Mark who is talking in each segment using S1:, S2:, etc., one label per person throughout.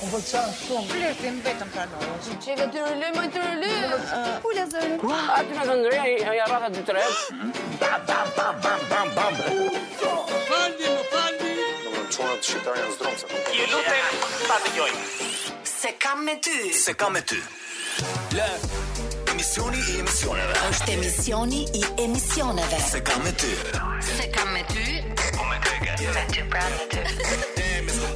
S1: Më pëlqen shumë.
S2: Flirtim vetëm pranoj.
S3: Që ke të rëlloj, më të rëlloj.
S2: Pula zërin.
S4: Aty me këndëria i- i arrata dy tre.
S5: Çunat shqiptar janë zdromse.
S6: Ju lutem ta dëgjoj.
S7: Se kam me ty
S6: Se kam me ty. Lë. Emisioni i emisioneve.
S7: është emisioni i emisioneve
S6: Se kam me ty.
S7: Se kam me ty
S6: Po me keke.
S7: Me ty pra me ty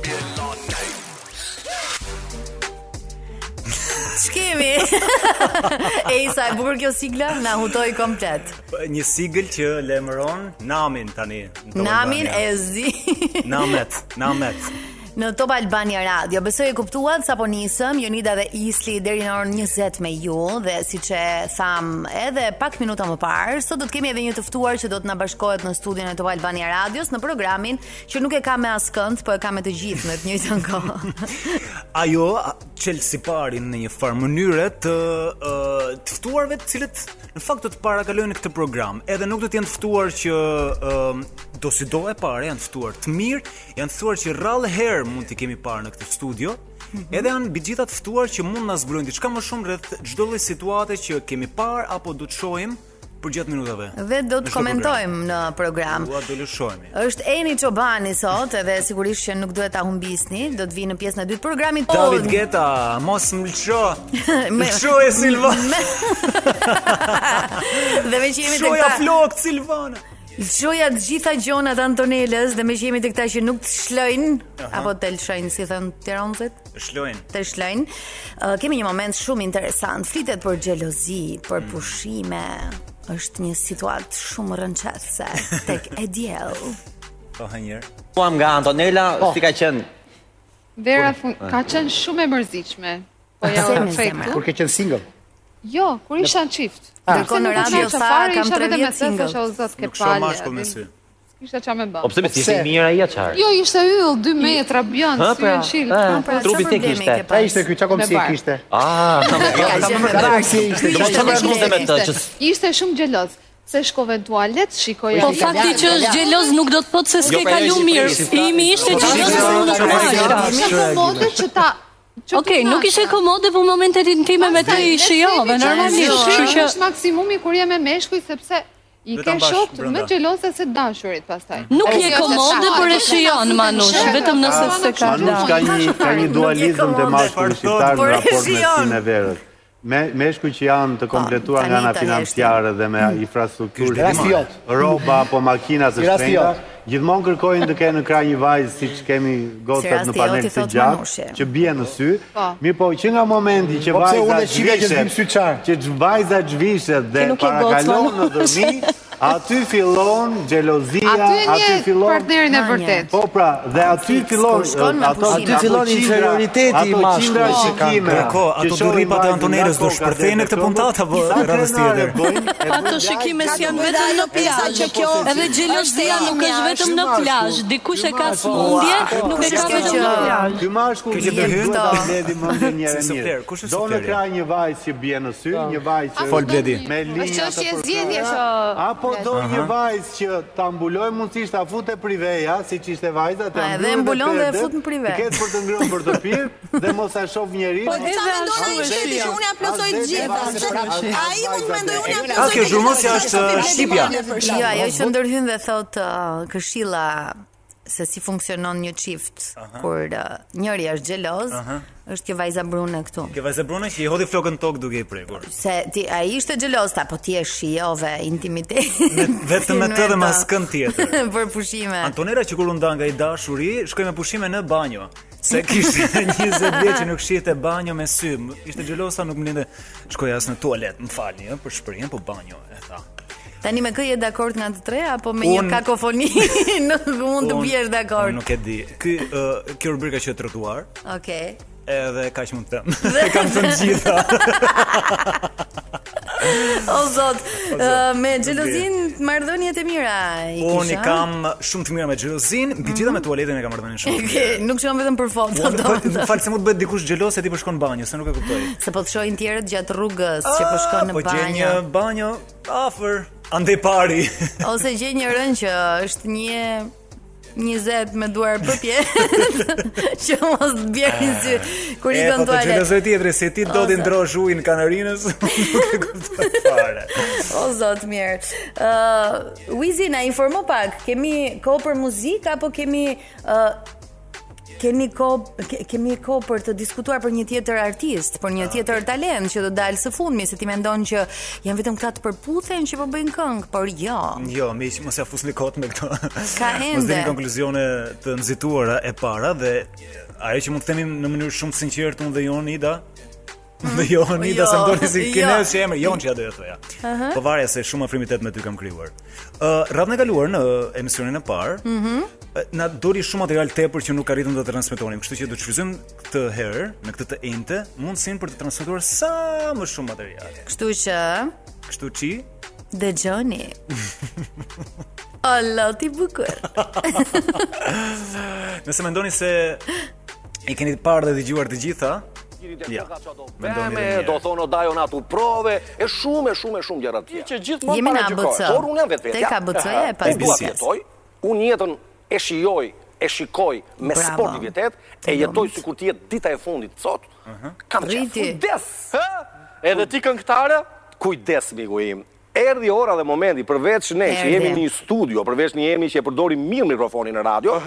S8: Shkemi. e Isa, e bukur kjo sigla, na hutoi komplet.
S9: Një sigël që lemëron namin tani. në Top
S8: Namin
S9: Albania.
S8: e zi.
S9: Namet, namet.
S8: Në Top Albania Radio. Besoj e kuptuat sapo nisëm Jonida dhe Isli deri në orën 20 me ju dhe siç e tham edhe pak minuta më parë, sot do të kemi edhe një të ftuar që do të na bashkohet në studion e Top Albania Radios në programin që nuk e ka me askënd, po e ka me të gjithë në të njëjtën kohë.
S9: Ajo a- çel si parin në një farë mënyre të ë, të ftuarve të cilët në fakt do të parakalojnë këtë program. Edhe nuk do të jenë të ftuar që ë, do si do e para, janë të ftuar të mirë, janë të ftuar që rrallë herë mund t'i kemi parë në këtë studio.
S8: Mhm.
S9: Edhe janë mbi gjitha të ftuar që mund na zbrojnë diçka më shumë rreth çdo lloj situate që kemi parë apo do të shohim përgjatë minutave.
S8: Dhe do
S9: në
S8: të
S9: çdo
S8: komentojmë në program.
S9: program. Dua do lëshohemi.
S8: Është Eni Çobani sot, edhe sigurisht që nuk duhet ta humbisni, do të vi në pjesën e dytë të programit.
S9: David
S8: Po,
S9: Geta, mos më lësho.
S8: Me-
S9: Lësho e Silvana.
S8: Dhe me që jemi të
S9: Lëshoja
S8: këta
S9: flok Silvana.
S8: Lëshoja të gjitha gjonat Antonelës Dhe me që jemi të këta që nuk të shlojnë Apo të lëshojnë, si thënë tironësit
S9: Shlojnë.
S8: Të shlojnë uh, Kemi një moment shumë interesant Flitet për gjelozi, për pushime është një situatë shumë rënqetse Tek e djel
S9: Po hanjer.
S10: Kuam nga Antonella, si ka qenë?
S11: Vera fun... ka qenë shumë e mërzitshme. Po ja
S8: Se me zemra.
S11: fake.
S1: Kur ke qenë single?
S11: Jo, kur isha në çift.
S8: Kërkon në radio tha, kam 30 single.
S11: Isha o zot ke
S9: Nuk shoh
S11: palje.
S9: mashkull me sy.
S11: Ishte çfarë më
S10: O
S11: bën.
S10: Po, pse më thjesht
S1: pse?
S10: mirë ai çfarë?
S11: Jo, ishte yll 2 metra bjond,
S10: Ha,
S11: sy e shil.
S10: ha,
S8: pra,
S10: trupi
S8: çfarë
S10: tek
S8: problemi
S10: ishte.
S8: ke
S1: Ai
S8: pas?
S1: ishte ky çka komsi
S11: Me bark.
S1: kishte.
S10: Ah,
S8: Ka qenë me bark.
S1: si ishte.
S10: do të
S8: ishte
S10: thonë
S8: me
S10: shkonte me të
S8: ishte.
S10: që
S11: Ishte shumë xheloz. Se shkove në tualet, shikoja.
S3: Po fakti që është gjeloz nuk do të thotë se s'ke
S10: pra,
S3: kalu
S10: ishte-
S3: mirë.
S10: ishte-
S3: Imi ishte gjeloz
S1: ishte-
S3: unë nuk
S1: ishte-
S3: faqja.
S11: Isha komode që ta që
S3: Okej,
S11: t'u
S3: nuk
S11: knaqja.
S3: ishe komode, po në momentet në time me të i shijove, normalisht. Kështu që
S11: është maksimumi kur je me meshkuj sepse i
S9: Vetëm
S11: ke
S9: bash
S11: shokët
S9: brenda.
S11: më xheloze se dashurit pastaj.
S3: nuk
S11: Ai
S3: je
S11: është
S3: komode,
S11: shaka,
S3: por e
S11: ai
S3: shijon Manush, vetëm nëse s'e ka
S11: Manush
S3: dalë.
S11: ka një- ka një
S8: dualizëm
S9: dhe mashkulli shqiptar
S8: në raport me sinë e
S5: verës. Me meshkuj që janë të
S8: kompletuar nga ana financiare
S5: dhe me infrastrukturë,
S1: Rasti jot.
S5: rroba apo makina
S1: Si rasti jot.
S5: Gjithmonë kërkojnë të kenë në krah një vajzë siç kemi gocat
S8: Si
S5: në
S8: rasti
S5: panel
S8: joti,
S5: të
S8: thot Manushi.
S5: gjatë që bie në sy.
S11: Po.
S5: Mirë po, që nga momenti që
S1: Po pse
S5: vajza
S1: unë e shika që zgjim syçar?
S5: që që vajza zhvishet dhe
S3: Ti nuk je gocë,
S5: parakalon në
S3: Manushi.
S5: dërmi, aty fillon xhelozia,
S11: Aty një
S5: aty fillon
S11: partnerin e
S8: Manja.
S11: vërtet.
S5: Po pra, dhe aty
S8: Konflikt,
S5: fillon
S8: kur shkon me
S5: ato-
S8: pushime.
S5: ato
S8: Aty
S1: fillon
S5: qindra-
S1: inferioriteti i
S5: Ato qindra
S1: mashkullit.
S5: shikime.
S9: Kërko,
S5: që
S9: ato
S5: shohin
S9: duripat e
S5: vajzën
S9: Antonelës
S5: nga
S9: do
S5: koka
S9: shpërthejnë
S5: deri
S9: në këtë
S5: këmbët.
S9: puntata, po,
S5: Sa
S9: radhës
S5: krenare
S9: tjetër.
S5: bëjnë, e
S3: Ato shikime si janë vetëm në plazh. Edhe xhelozia nuk është vetëm në plazh. Dikush e ka smundje, nuk e ka
S8: Kjo
S3: vetëm
S8: që
S3: në plazh.
S5: Ky mashkull
S9: Kjo që
S5: i
S9: do hynë?
S5: duhet ta mbledhi mendin një herë
S9: Si sufler,
S5: mirë.
S9: kush është
S5: Do në
S9: sufleri?
S5: krah një vajzë që bie në sy, një vajzë që
S9: Fol bledi.
S5: me linja
S2: Është çështje
S5: të
S2: zgjedhje
S5: përkrahura,
S2: që-
S5: apo do një vajzë që ta mbuloj mundësisht ta fute priveja, siç ishte vajza, ta
S8: A, edhe
S5: mbyllë
S8: mbulon dhe e
S5: perdet,
S8: fut në prive.
S5: Të ketë për të ngrënë për të pirë dhe mos e shoh njerëz.
S3: Po disa mendojnë ai sheti që unë ja plotësoj të gjitha. Ai mund të mendoj unë ja
S9: A
S3: plotësoj.
S9: kjo uh, zhurmosja është shqipja.
S8: Jo, ajo që ndërhyn dhe thot uh, këshilla se si funksionon një çift kur uh, njëri është xheloz, është kjo vajza brune këtu.
S9: Ke vajzë brune që i hodhi flokën tokë duke i prekur.
S8: Se ti ai ishte xheloz ta, po ti e shijove intimitet.
S9: Vetëm me të dhe me askën tjetër.
S8: Për pushime.
S9: Antonera që kur u nda nga i dashuri, shkoi me pushime në banjo. Se kishte 20 vjet që nuk shihte banjo me sy. M- Ishte xhelosa, nuk më linde. Shkoj as në tualet, më falni, ë, për shprehjen, po banjo e tha.
S8: Tani me kë je dakord nga të tre apo me një
S9: Unë-
S8: kakofoni nuk mund të
S9: Unë-
S8: biesh dakord.
S9: unë Nuk e di. Ky ë, kjo rubrika që e trotuar,
S8: Okej.
S9: edhe kaq mund të them. E kam thënë të gjitha.
S8: O zot, ë, me xhelozin marrëdhëniet e mira i kisha.
S9: Po Unë i kam shumë të mirë me xhelozin, mbi gjitha me tualetin e kam marrëdhënien shumë. të mirë.
S8: Ke- nuk shkon vetëm për foto
S9: Unë- po,
S8: do.
S9: më Falë se mund të bëhet dikush xhelos se ti po shkon në banjo, se nuk e kuptoj.
S8: Se po të shohin tjerët gjatë rrugës që po shkon në
S9: Po gjen
S8: banjë
S9: një banjo afër, ande pari.
S8: ose gjej një rën që është një 20 me duar përpje që mos të bjerë në sy kur
S9: E,
S8: ikon
S9: po të
S8: tualet.
S9: gjelozoj tjetri, se ti do
S8: Ose.
S9: të ndrosh ujin kanarinës, nuk e kuptoj fare.
S8: O zot mirë. Ë Wizi na informo pak, kemi kohë për muzikë apo kemi ë kemi kohë ke- kemi kohë për të diskutuar për një tjetër artist, për
S9: Ah,
S8: një tjetër talent që do dalë së fundmi, se ti mendon që janë vetëm ka të përputhen që po bëjnë këngë, por jo.
S9: Jo, miq, mos ja fusni kot me këto.
S8: Ka
S9: Mos
S8: ende.
S9: dini konkluzione të nxituara e para dhe ajo që mund të themi në mënyrë shumë të sinqertë unë dhe Jon Ida. Dhe Jon Ida se
S8: Jo,
S9: më doli si
S8: jo.
S9: kinez që emër Jon që ja doja thoja. Po varja se shumë afrimitet me ty kam krijuar. Ë radhën e kaluar në emisionin e parë,
S8: Mhm.
S9: ë, na doli shumë material tepër që nuk arritëm të transmetonim, kështu që do të shfryzojmë këtë herë, në këtë të enjte, mundësinë për të transmetuar sa më shumë material.
S8: Kështu që
S9: Kështu që
S8: dëgjoni. Alla, ti bukur.
S9: Nëse mendoni se i keni parë dhe dëgjuar të gjitha, ja.
S2: po
S9: Mendoni edhe
S2: do
S9: një herë.
S2: thonë o dajë natu prove, e shumë, e shumë, e shumë gjëra të tjera. Ti që gjithmonë
S8: Jemi në paraqykohesh. ABC.
S2: Por unë jam vetë
S8: Tek ABC-ja e pas
S2: dua
S8: ABC-s.
S2: të jetoj, unë jetën e shijoj, e shikoj me
S8: Bravo.
S2: sportivitet, e jetoj si kur tjetë dita e fundit sot, kam qef,
S8: Rriti.
S2: kujdes. Edhe ti këngëtare? Kujdes, miku im. Erdi ora dhe momenti, përveç ne që
S8: Erdhi.
S2: jemi në një studio, përveç ne jemi që e përdorim mirë mikrofonin në radio,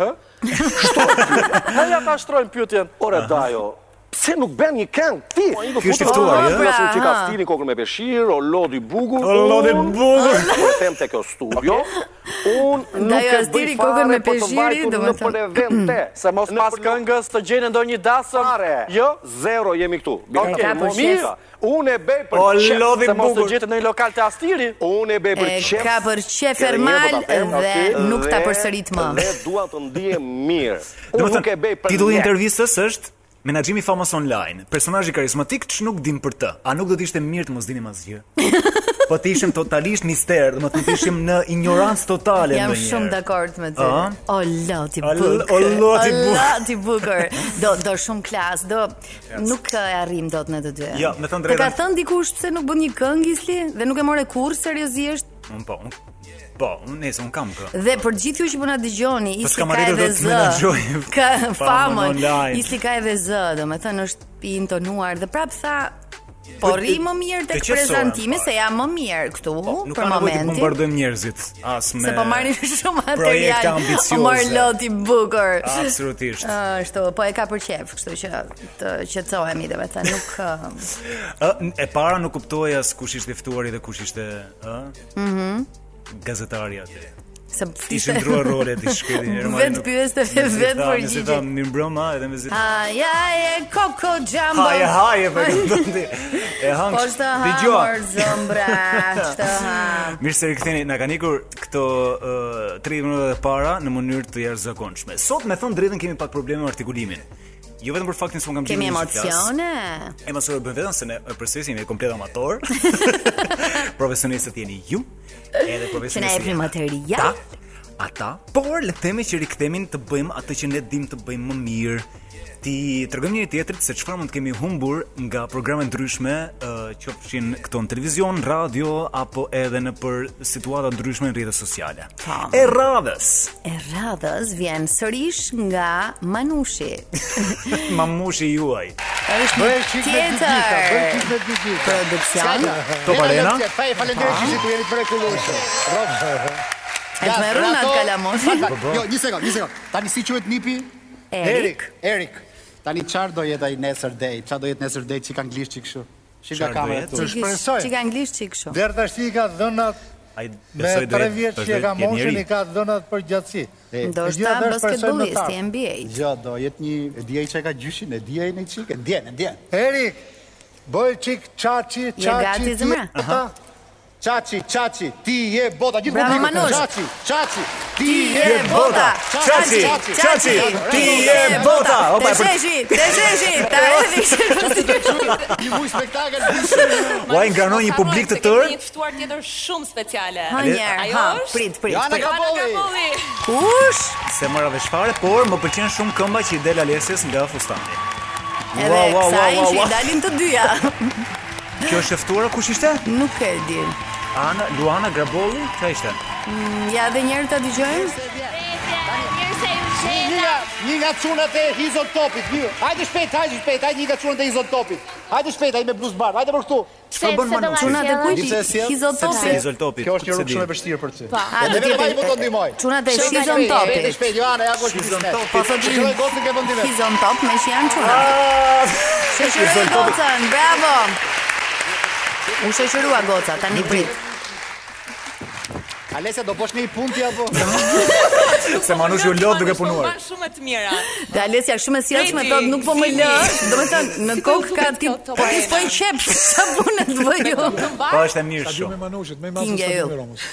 S2: Heja ta shtrojmë pyetjen. Ore Dajo, pse nuk bën një këngë ti?
S9: Ky është i ftuar,
S2: Ah,
S9: ja?
S2: pra,
S8: Pra,
S2: që ka
S8: aha.
S2: stili kokën me peshir, o lodi bugur.
S9: O, lodi
S2: unë-
S9: bugur.
S2: Po e them tek kjo studio. Un nuk
S8: Dajo,
S2: e
S8: stili
S2: bëj
S8: kokën
S2: kokën
S8: me
S2: me peshir,
S8: peshiri,
S2: në
S8: domethënë.
S2: për evente, se mos pas këngës të gjeni ndonjë dasëm. Jo, zero jemi këtu.
S8: Ka
S2: po,
S8: për shef.
S2: Unë e bëj për
S9: O,
S2: qef,
S9: lodi
S2: se mos të
S9: bugur.
S2: gjetë në një lokal të Astiri. Unë e bëj për
S8: E,
S2: qef.
S8: ka për qef
S2: edhe një herë do jo,
S8: Ermal
S2: po, ta them,
S8: dhe
S2: okay,
S8: nuk ta
S2: dhe-
S8: përsërit më.
S2: Dhe duan të ndihem mirë. Unë nuk e bëj për
S9: titulli i
S2: lek.
S9: intervistës është Menaxhimi i famës online. Personazhi karizmatik që nuk dim për të. A nuk do të ishte mirë të mos dinim asgjë? po të ishim totalisht mister, do të thotë të ishim në ignorancë totale
S8: Jam
S9: ndonjëherë.
S8: shumë dakord me ty.
S9: Ëh?
S8: O loti
S9: Al-
S8: bukur.
S9: o, loti bukur.
S8: O, loti bukur. Do do shumë klas, do nuk e arrim dot në të dy.
S9: Jo, me thënë
S8: Të ka
S9: drejtën.
S8: thënë dikush pse nuk bën një këngë isli dhe nuk e more kurrë seriozisht
S9: Un po. Un, po, un nëse un kam kë.
S8: dhe për gjithë ju që po na dëgjoni,
S9: Po
S8: isli
S9: s'kam
S8: ka
S9: arritur
S8: edhe
S9: dot të
S8: z.
S9: menaxhoj
S8: Ka
S9: famën
S8: famën.
S9: online.
S8: Isli ka edhe z, domethënë është i intonuar dhe prap tha Po
S9: Dhe-
S8: rri më mirë tek
S9: qetësohem,
S8: prezantimi
S9: fare.
S8: se jam më mirë këtu
S9: Nuk
S8: për
S9: ka nevojë të
S8: momentin.
S9: bombardojmë njerëzit as me
S8: Se po marrin shumë
S9: projekte
S8: material. O
S9: ambicioze.
S8: marr loti bukur.
S9: Absolutisht.
S8: Ashtu, po e ka për qef, kështu që të qetësohemi domethënë, nuk uh, ë,
S9: Ë, e para nuk kuptoj as kush ishte i ftuari dhe kush ishte, ë? Mhm. gazetari aty.
S8: se
S9: Ti ishin ndruar rolet, ti shkëti herë.
S8: Vetë pyeste, vetë
S9: Ta
S8: përgjigje.
S9: më mbrëma edhe me zita.
S8: Ai ai e koko jumbo.
S9: Haje, haje, për këndon ti. E hangë.
S8: Po shtë hamër zëmbra, shtë ham.
S9: Mirë se riktheni, na kanë ikur këto uh, 30 minuta e para në mënyrë të jashtëzakonshme. Sot me thënë drejtën kemi pak probleme me artikulimin. Jo vetëm për faktin se unë kam
S8: Kemi
S9: gjetur një flas.
S8: emocione.
S9: E mos u bën vetëm se ne përsesim jemi komplet amator. Profesionistët jeni ju. Edhe
S8: Që na
S9: profesionistët.
S8: jepni
S9: jeni
S8: material.
S9: ata, ata, por le të themi që rikthemin të bëjmë atë që ne dim të bëjmë më mirë. Ti tregojmë njëri tjetrit se çfarë mund të kemi humbur nga programe ndryshme, uh, qofshin këto në televizion, radio apo edhe në për situata ndryshme në rrjetet sociale.
S8: Tam.
S9: E radhës,
S8: E radhës vjen sërish nga Manushi.
S9: mamushi juaj.
S8: Është
S5: Bëj
S8: një
S5: qik me dy dita, bëj
S8: tjetër
S5: qik me dy dita.
S8: produksion.
S9: Top Arena.
S1: Faleminderit që si tu jeni mrekullueshëm.
S8: E të merru në atë kalamon.
S1: Jo, një sekond, një sekond. Tani si quhet nipi?
S8: Erik.
S1: Erik. Tani çfarë do jetë ai nesër dej? Çfarë do jetë nesër dej çik anglisht çik kështu? Shik
S9: Çfarë
S1: nga
S9: do
S1: kamera
S9: jetë?
S1: këtu.
S8: Çik-
S5: shpresoj.
S8: Çik anglisht çik kështu.
S5: Derdha shi ka dhënat
S9: Ai
S5: me
S9: besoj
S5: tre
S9: drejt-
S5: vjetë që
S9: drejt
S5: ka
S9: jeni
S5: moshën
S9: njeri.
S5: i ka dhënat për gjatësi.
S8: Ndoshta basketbollisti NBA.
S1: Jo, do jetë një e di ai çka ka gjyshin, e di ai në çik, e ndjen, e ndjen.
S5: Erik, bëj qik qaçi, qaçi.
S8: gati,
S5: ti-
S8: zemra?
S5: Aha.
S1: Çaçi, çaçi, ti je bota gjithë
S8: Bravo, Manush.
S1: Çaçi, çaçi, ti
S8: je bota.
S9: Qaçi, qaçi, ti je bota. Opa,
S8: Te
S9: e për-
S8: sheshi, te sheshi, ta hedhi kështu.
S1: Një vuj spektakël shumë.
S9: Uaj ngranon një publik të tërë.
S3: Një të ftuar tjetër shumë speciale.
S8: Ha njerë,
S3: Ajo
S8: ha,
S3: është-
S8: prit, prit.
S1: Joana
S8: prit.
S1: Kapolli.
S8: Kush?
S9: Se mora vesh fare, por më pëlqen shumë këmba që i del Alesjes nga fustani.
S8: Edhe kësaj që i dalin të dyja.
S9: Kjo është e ftuara kush ishte?
S8: Nuk e di.
S9: Ana Luana Grabolli, çfarë ishte?
S8: Ja edhe njerë ta dëgjojmë.
S1: Një nga, një nga çunat e Hizon Topit, një. Hajde shpejt, hajde shpejt, hajde një nga çunat e Hizon Topit. Hajde shpejt, hajde me bluz bar. Hajde për këtu.
S12: Pse- bën pse Manu? do ma Çunat e sjellën? kujt? Hizotopit.
S1: Sepse-
S9: Hizotopit,
S1: Kjo është një
S9: se
S1: rrugë
S9: di.
S1: shumë e vështirë për ty.
S12: Po.
S1: A
S12: A, do
S1: do të
S12: t'jepi-
S1: vajmë të ndihmoj.
S8: Çunat e
S1: Shpejt,
S8: Hizon
S1: shpejt,
S8: Topit.
S1: shpejt, Shpejt, Joana, ja ku Hizon Topit.
S8: Po sot
S1: Shkoj gocën ke vendime.
S8: Hizon Top, me që janë çuna. Shoqëroj
S1: Hizon Topi.
S8: gocën, bravo. U shoqërua goca, tani prit.
S1: Alesa do bësh një punë ti apo?
S9: Se Manush ju lodh duke punuar.
S13: Ban shumë të mira.
S8: Dhe Alesja është shumë e sjellshme,
S13: Kreti,
S8: thot nuk po më lë.
S13: Simi.
S8: Domethënë në
S13: Si po
S8: kokë
S13: duket
S8: ka ti,
S13: kjo
S8: po
S13: top
S8: ti
S13: arena?
S8: s'po i qep sabunet bëj unë.
S9: Po është e mirë
S14: Stadiumi
S9: shumë.
S14: Manushit, më i
S8: Kinga
S14: madh se
S8: ju.
S14: stadiumi Romës.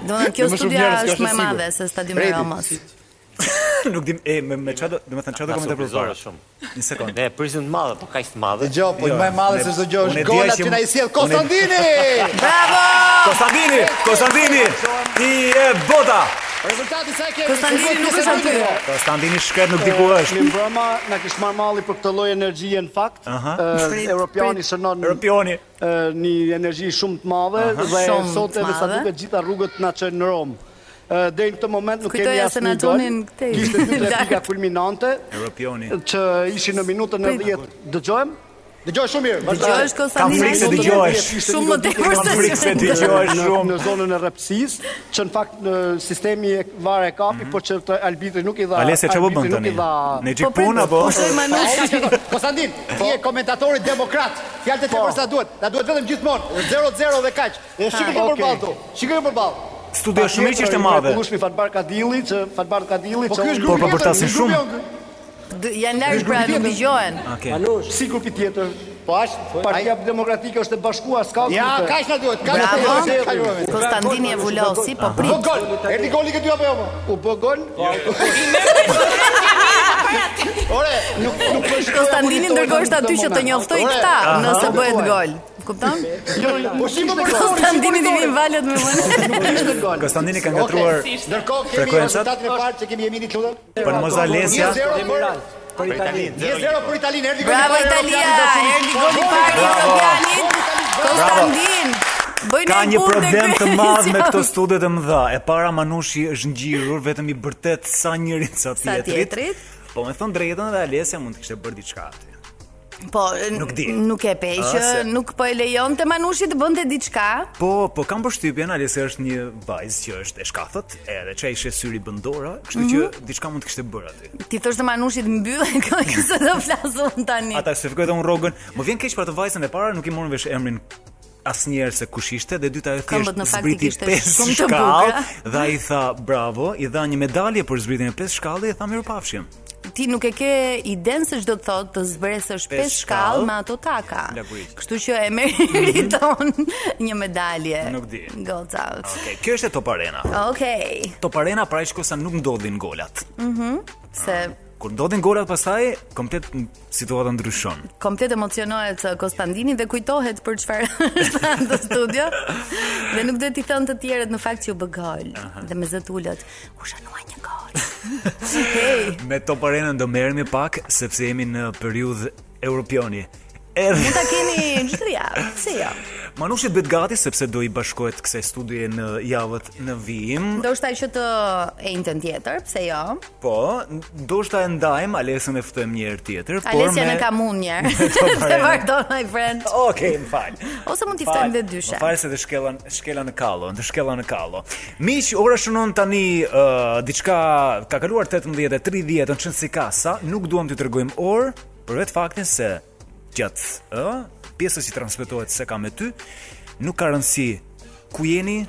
S8: Domethënë kjo
S9: Dhe më shumë
S8: studia
S9: njerëz, kjo
S8: është
S9: është
S8: më e
S9: e
S8: madhe
S9: sigurt.
S8: se stadiumi i
S9: Kreti.
S8: Romës.
S9: Nuk dim e me me çfarë, do- domethënë çfarë do
S10: Na
S9: komentar
S10: surprizore shumë.
S9: Një sekond.
S10: Ne prisim të madhe, po kaq të madhe.
S1: Dgjoj, po më e madhe se çdo gjë është golat që na i sjell Konstantini.
S8: Bravo!
S9: Konstantini, Konstantini, ti e bota.
S1: Rezultati sa e kemi?
S5: Konstantini nuk është aty.
S9: Konstantini shkret nuk di ku është.
S15: Në mbrëma na kish marr malli për këtë lloj energjie në fakt.
S9: Aha.
S15: Ë,
S9: Prit,
S15: Europiani
S9: prit.
S15: shënon
S9: Europiani
S15: një energji shumë të madhe
S9: Aha.
S15: dhe
S9: Shumë
S15: sot
S9: të
S15: edhe sa
S9: madhe.
S15: duket gjitha rrugët na çojnë në Rom. Ë, deri në këtë moment nuk kemi
S8: Kujtoja se
S15: asnjë
S8: na
S15: gol.
S8: çonin këtej.
S15: Kishte dy tre pika kulminante
S9: Europioni.
S15: që ishin në minutën e
S8: Prit.
S15: 10. Dëgjojmë?
S1: Dëgjoj shumë mirë.
S8: Dëgjohesh, Konstantin? Kam frikë se dëgjohesh. Shumë më tepër se Kam frikë se shumë. dëgjohesh
S15: Në-
S8: shumë.
S15: Në zonën e rrepsisë, që në fakt në sistemi e varë e kapi, por që të arbitri nuk i dha.
S9: Alesja, çfarë po bën
S15: arbitri nuk
S9: tani?
S15: i dha-
S9: Ne gjik Po, prit, punë, apo? po shoj Manush.
S1: Konstantin,
S15: Po.
S1: ti je komentatori demokrat. Fjalët e tepër sa duhet. Na duhet vetëm gjithmonë 0-0 dhe kaq. E Shikoj
S15: Ha,
S1: ke
S15: okay.
S1: përballë tu. Shikoj ke përballë.
S9: Studio
S15: Patjetër,
S9: shumë mirë që ishte
S15: i
S9: madhe.
S15: mrekullueshmi Fatbar Kadilli, që Fatbar Kadilli,
S1: Po
S15: që
S1: ky
S15: unë-
S1: është grupi Po, po, tjetër, përtasin grupi shumë.
S8: D- Janë larg pra nuk dëgjohen.
S15: Manush, si grupi tjetër? Po është Partia Demokratike është e bashkuar, s'ka.
S1: Ja,
S15: grupe.
S1: kaq na duhet, kaq na
S15: Bravo.
S1: duhet, kaq na duhet.
S8: Konstantini e vulosi, po
S1: Po
S8: prit.
S1: gol. Erdi goli këtu apo jo? mo?
S15: U bë gol?
S1: Ore,
S15: nuk nuk po shkoj.
S8: Konstantini ndërkohë është aty që të njoftoj këta nëse bëhet gol. Kupton?
S1: Po shiko monitorin,
S8: Konstantini të vin valet me vënë.
S9: Konstantini ka ngatruar
S1: Okej, Ndërkohë kemi
S9: frekuencat.
S1: rezultatin e parë që kemi Emini Kludën.
S9: Për Moza Alesja.
S1: 1-0 për-
S9: Për Italinë.
S1: 1-0 për Italinë, erdi goli.
S8: Bravo
S1: parë,
S8: Italia,
S1: Europiani,
S8: erdhi goli i parë i
S9: Bravo.
S8: Europianit. Konstantin. Bëjnë
S9: Ka një
S8: punë dhe
S9: problem të
S8: krye
S9: madh me
S8: emision.
S9: këto studio të mëdha. E para Manushi është ngjirur vetëm i bërtet sa njërin sa
S8: Sa
S9: tjetrit.
S8: tjetrit.
S9: Po me thon drejtën edhe Alesja mund të kishte bërë diçka aty.
S8: Po,
S9: Nuk di.
S8: Nuk e pej
S9: A,
S8: që
S9: se-
S8: nuk po e lejon te Manushi të bënte diçka.
S9: Po, po kam përshtypjen Alesja është një vajzë që është e shkathët, edhe çaj ishe syri bëndora, kështu
S1: Mhm.
S9: që diçka mund të kishte bërë aty.
S8: Ti thosh të Manushit mbyllën këtë kësaj do flasun tani.
S9: Ata se fikoj të unë rogën, më vjen keq për atë vajzën e para, nuk i morën vesh emrin asnjëherë se kush ishte dhe dyta e thjesht
S8: Këmbët në fakt i
S9: zbriti
S8: kishte shumë
S9: pesë
S8: të
S9: shkallë
S8: bukura.
S9: dhe ai tha bravo, i dha një medalje për zbritjen e pesë shkallë dhe i tha mirupafshim.
S8: Ti nuk e ke idenë se çdo të thotë të zbresësh
S9: Pesë
S8: pesë shkallë
S9: shkallë
S8: me ato taka.
S9: Lagurit.
S8: Kështu që e meriton një medalje.
S9: Mhm. Nuk di. Ah.
S8: Goca.
S9: Okej, kjo është e Top Arena.
S8: Okej.
S9: Top Arena pra ishko sa nuk ndodhin golat.
S8: Mhm. Se
S9: Kur ndodhin golat pastaj komplet m- situata ndryshon.
S8: komplet emocionohet uh, Konstantini dhe kujtohet për çfarë është në atë studio. Dhe nuk duhet i thënë të tjerët në fakt që u bë gol dhe me zot ulët. U shënua një gol. Hey,
S9: Me Top Arena do merremi pak sepse jemi në periudhë europioni. Edhe
S8: ta keni çdo javë, pse jo?
S9: Manushi bëhet gati sepse do i bashkohet kësaj studie në javët në vijim.
S8: Ndoshta që të ejtën tjetër, pse jo?
S9: Po, ndoshta e ndajmë Alesën e ftojmë një herë tjetër,
S8: Alesja
S9: por me
S8: në kam unë njerë
S9: me Top
S8: Se
S9: Arena.
S8: vardon, my friend
S9: Okej, më falj
S8: Ose mund t'i ftojmë dhe
S9: Më
S8: dyshe
S9: falë se të shkela, shkela në kallo, të shkela në kallo. Miq, ora shënon tani uh, diçka ka kaluar 18:30 në çën si kasa, nuk duam t'ju tregojmë orë, për vetë faktin se gjatë ë pjesës që transmetohet se kam me ty, nuk ka rëndësi ku jeni,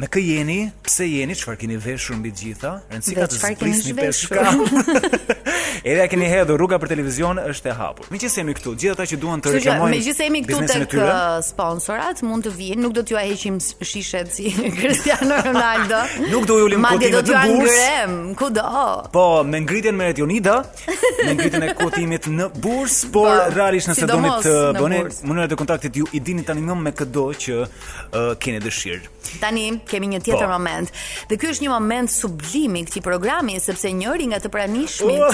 S9: me kë jeni, pse jeni, çfarë keni veshur mbi të gjitha, rëndësi ka
S8: Dhe
S9: të
S8: çfarë keni
S9: zbrisni pesë
S8: zhveshur.
S9: shkallë. Edhe ja keni hedhur rruga për televizion është e hapur. Megjithëse jemi këtu, gjithë ata që duan të
S8: Kështu që,
S9: reklamojnë.
S8: me gjithë se jemi këtu
S9: biznesin e
S8: tek
S9: tyre,
S8: uh, sponsorat, mund të vinë, nuk do t'ju heqim s- shishet si Cristiano Ronaldo.
S9: Nuk do ju ulim
S8: Madje do
S9: kotimet
S8: t'ju
S9: në burs.
S8: angrem, kudo.
S9: Po, me ngritjen me Retionida, me ngritjen e kuotimit në burs, por
S8: Po,
S9: realisht nëse doni
S8: sidomos
S9: të
S8: në
S9: bëni
S8: burs.
S9: mënyrat e kontaktit ju i dini tani më me këdo që uh, keni dëshirë.
S8: Tani kemi një tjetër
S9: Po.
S8: moment. Dhe ky është një moment sublimi i këtij programi sepse njëri nga të pranishmit.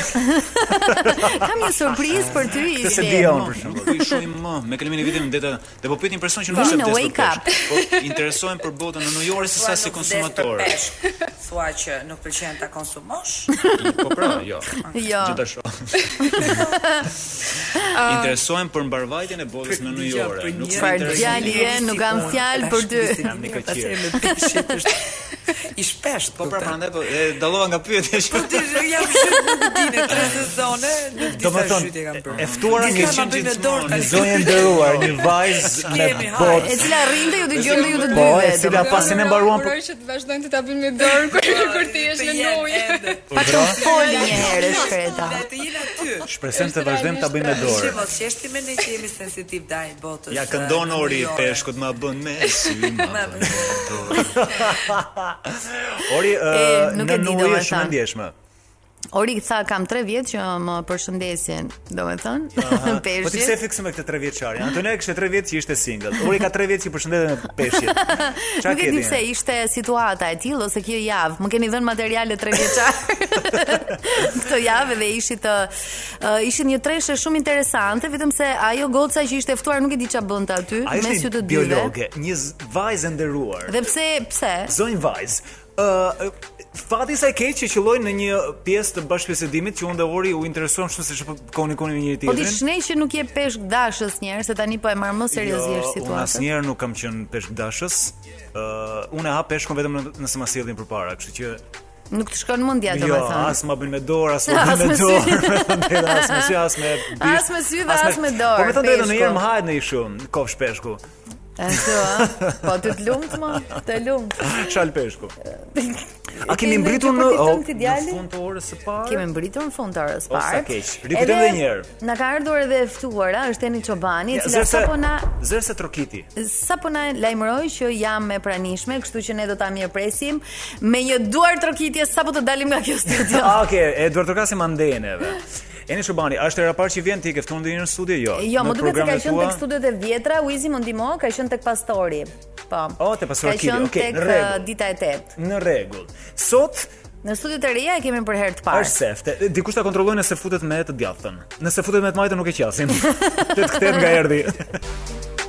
S8: Kam një surprizë për ty.
S9: Këtë se
S8: Ishlem.
S9: di unë për shembull. Po i shohim më me kalimin e viteve ndeta, dhe po pyet një person që nuk
S8: Vini
S9: është
S8: në
S9: vdes për
S8: wake up.
S9: peshk. Po interesohen për botën në New York se sa si konsumator.
S13: thua që nuk pëlqen ta konsumosh?
S9: Po pra, jo.
S8: Ah.
S13: Jo.
S9: Gjithashtu. Interesohem për mbarvajtjen e botës në New York. Nuk më
S8: Çfarë
S9: intereson.
S8: djali je, nuk kam fjalë për ty.
S9: Jam një
S13: Pastaj
S9: këqir.
S13: me peshit është i shpesht.
S9: Po pra, prandaj po e dallova nga pyetja
S8: Po,
S9: që.
S13: Ti jam shumë nuk dinë tre sezone, nuk
S9: Do më
S13: disa
S9: thonë,
S13: shyti kam bërë.
S9: e ftuara
S13: Disa
S9: ke
S13: ma
S9: qenë
S13: bëjnë në dorë
S9: gjithmonë,
S13: tani.
S9: një zonjë e nderuar, një vajzë me
S13: Kemi hajë.
S9: botë.
S8: E cila rrinte ju dëgjonte ju të dyve.
S9: Po, e cila
S8: pra,
S9: pasin e mbaruan
S12: Uroj që të vazhdojnë të ta bëjnë me dorë kur kur ti je në lojë.
S9: Po,
S8: Pa
S9: pra,
S8: të foli një herë shkreta.
S13: Të jeni aty.
S9: Shpresem të vazhdojmë ta bëjmë me dorë.
S13: Shqipos, që është me ne që jemi sensitiv daj botës. eh,
S9: Ja këndon ori i peshkut ma bën me sy ma bën. me dorë. Ori
S8: E,
S9: ë,
S8: nuk
S9: në
S8: e di,
S9: nuri
S8: domethënë.
S9: është shumë e ndjeshme.
S8: Ori tha kam 3 vjet që më përshëndesin, domethënë,
S9: Aha. Po ti pse
S8: peshqit.
S9: fikse me këtë 3 vjeçari? Antonia kishte 3 vjet që ishte single. Ori ka 3 vjet që përshëndetet me peshqit. Çfarë
S8: Nuk e
S9: ke
S8: di
S9: ti?
S8: pse ishte situata e tillë ose kjo javë. Më keni dhënë materiale tre vjeçar. Këtë javë dhe ishit ë, ë, ishit një treshe shumë interesante, vetëm se ajo goca që ishte e ftuar nuk e di ç'a bënte aty,
S9: Ai
S8: mes ju
S9: është
S8: të
S9: një
S8: dyve.
S9: biologe, një z- vajzë e nderuar.
S8: Dhe pse pse?
S9: Zonjë vajzë, ë ë, fati sa i keq që qëlloj në një pjesë të bashkëbisedimit që unë dhe Ori u interesuam shumë se ç'po komunikoni me njëri
S8: Po ti
S9: tjetrin.
S8: shnej që nuk je peshk dashës njerë, se tani po e marr më seriozisht
S9: Jo, unë
S8: situatën.
S9: asnjëherë nuk kam qenë peshkdashës. Ë, unë e hap peshkun vetëm në- nëse ma sjellin përpara, kështu që
S8: Nuk të shkon mendja
S9: jo,
S8: domethënë.
S9: as ma bën me dorë, as ma
S8: As
S9: bën me
S8: me sy.
S9: dorë, vetëm as me sy, as me bisht,
S8: As me sy dhe as me dorë,
S9: Po më thënë drejtën,
S8: peshku.
S9: në herë më hahet në i shumë, kofsh peshku,
S8: Ashtu ë. Po ty të lumt më, të lumt.
S9: shal peshku. A kemi mbritur në
S8: o,
S9: oh,
S8: në fund
S9: të orës së parë?
S8: Kemi mbritur në fund të orës së
S9: O, sa
S8: parë.
S9: keq. Ripitojmë edhe një herë.
S8: Na ka ardhur edhe e ftuara, është Eni Çobani, e
S9: Ja,
S8: cila
S9: zërse-
S8: sapo na
S9: Zërse trokiti.
S8: sapo na lajmëroi që jam me pranishme, kështu që ne do ta mirëpresim me një duar trokitje sapo të dalim nga kjo
S14: Jo.
S8: studio.
S9: Ah, okay, Eduard Trokasim andeneve. Eni Shubani, a është era parë që vjen ti ke ftuar ndonjë në studio? Jo.
S8: Jo,
S9: Në
S8: më duket se ka
S9: programet
S8: qenë
S9: tua?
S8: tek studiot e vjetra, Uizi më ndihmo, ka qenë tek Pastori. Po.
S9: O, te Pastor
S8: Ka
S9: Kili,
S8: qenë
S9: okay,
S8: tek,
S9: në rregull.
S8: uh, dita e 8.
S9: Në rregull. Sot
S8: Në studiot e reja e kemi për herë të parë.
S9: është sefte. Dikush ta kontrolloj nëse futet me të djathtën. Nëse futet me të majtën nuk e qasin. Te të kthehet nga erdhi.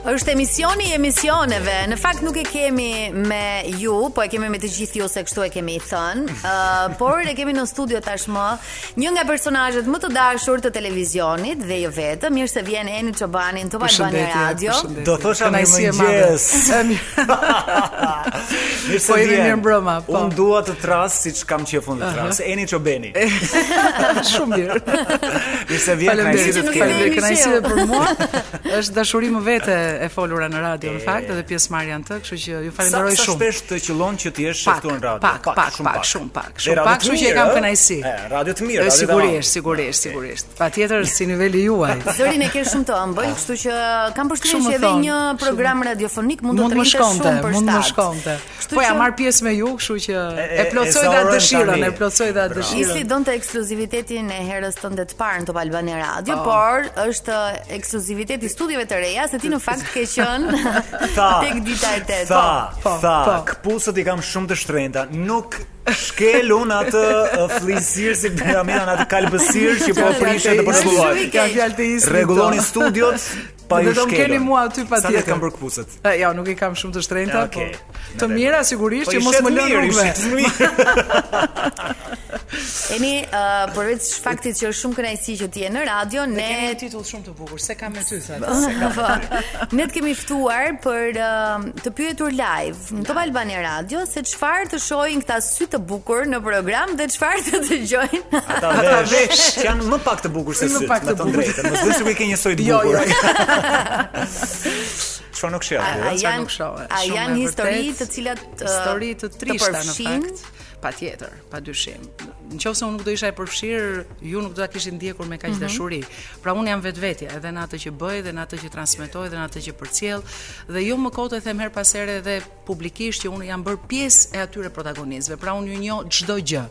S8: Është emisioni i emisioneve. Në fakt nuk e kemi me ju, po e kemi me të gjithë ju se kështu e kemi i thënë. Ë, por e kemi në studio tashmë një nga personazhet më të dashur të televizionit dhe jo vetëm, mirë se vjen Eni Çobani në Top Albania Radio.
S9: Do thosha më
S8: Kënaqësi e
S9: mëngjes.
S14: Po, jemi mirë mbrëma, po.
S9: Unë dua të tras siç kam qefun të tras. Eni Çobeni.
S14: Shumë mirë.
S9: Mirë se vjen.
S14: Faleminderit.
S9: kënaqësi të të kemi.
S14: Faleminderit kënaqësive për mua. Është dashuri më vete e folura në radio në fakt edhe pjesëmarrja në të, kështu që ju falenderoj
S9: Sa- Sa
S14: shumë.
S9: shpesh të qëllon që ti jesh
S14: Pak,
S9: sheftuar në radio?
S14: pak, pak, pak, shumë pak,
S9: Dhe
S14: shumë
S9: radio
S14: pak,
S9: të
S14: kështu që e
S9: mirë,
S14: kam
S9: ë?
S14: kënaqësi.
S9: E, radio të
S14: E,
S9: mirë, radio të
S14: Sigurisht, sigurisht, sigurisht. Patjetër si niveli juaj.
S8: Zërin e ke shumë të ëmbël, kështu që kam përshtypjen
S14: Shumë
S8: që
S14: më
S8: edhe
S14: thonë,
S8: një
S14: shumë.
S8: program radiofonik mund,
S14: mund
S8: të
S14: më
S8: rrinte
S14: shkonte,
S8: shumë për
S14: mund më
S8: shtat.
S14: shkonte.
S8: Kështu
S14: Po ja
S8: që-
S14: marr pjesë me ju, kështu që e
S9: e
S14: plotsoj
S9: zaurojmë
S14: dha dëshirën,
S9: tani.
S14: e plotsoj dha
S9: Bravo.
S8: Isi
S14: dëshirën.
S8: donte ekskluzivitetin e herës tënde të parë në Top Albania Radio,
S14: Po.
S8: por është ekskluziviteti studiove të reja se ti në fakt ke qenë tek dita e tetë.
S9: Tha,
S8: Po,
S9: tha,
S8: po.
S9: këpucët i kam shumë të shtrenjta. Nuk shkel unë atë uh, flisirë si piramida në atë kalbësirë që po prishën të përshkulluar.
S14: Ka fjalë të ismit.
S9: Rregulloni studiot pa ju
S14: Do të më
S9: shkelur.
S14: keni mua aty
S9: Sa le
S14: patjetër.
S9: kam për këpucët?
S14: E, Jo, nuk i kam shumë të shtrenjta,
S9: Ja, okej.
S14: po. Të mira sigurisht që mos më lënë rrugëve.
S8: Eni, uh, përveç faktit që është shumë kënaqësi që ti je në radio, ne
S14: Kemi një titull shumë të bukur, se kam me ty sa.
S8: ne të kemi ftuar për ë, të pyetur live në Top Albania Radio se çfarë të shohin këta sy të bukur në program dhe çfarë të dëgjojnë.
S9: Ata vesh që janë më pak të bukur se
S8: Më
S9: sytë,
S8: pak
S9: me
S8: të
S9: të
S8: bukur.
S9: drejtën. Mos bëj sikur i ke një soj të
S8: Jo,
S9: bukur. Çfarë nuk sheh
S8: A,
S9: aty?
S8: a janë, a janë histori të cilat ë,
S14: histori të trishta në
S8: përfshin
S14: fakt. Patjetër, padyshim. Nëse unë nuk do isha e përfshirë, ju nuk do ta kishit ndjekur me kaq
S16: Mhm.
S14: dashuri. Pra unë jam vetvetja, edhe në atë që bëj, edhe në atë që transmetoj, edhe në atë që përcjell, dhe jo më kot e them her pas here dhe publikisht që unë jam bërë pjesë e atyre protagonistëve. Pra unë ju njoh çdo gjë,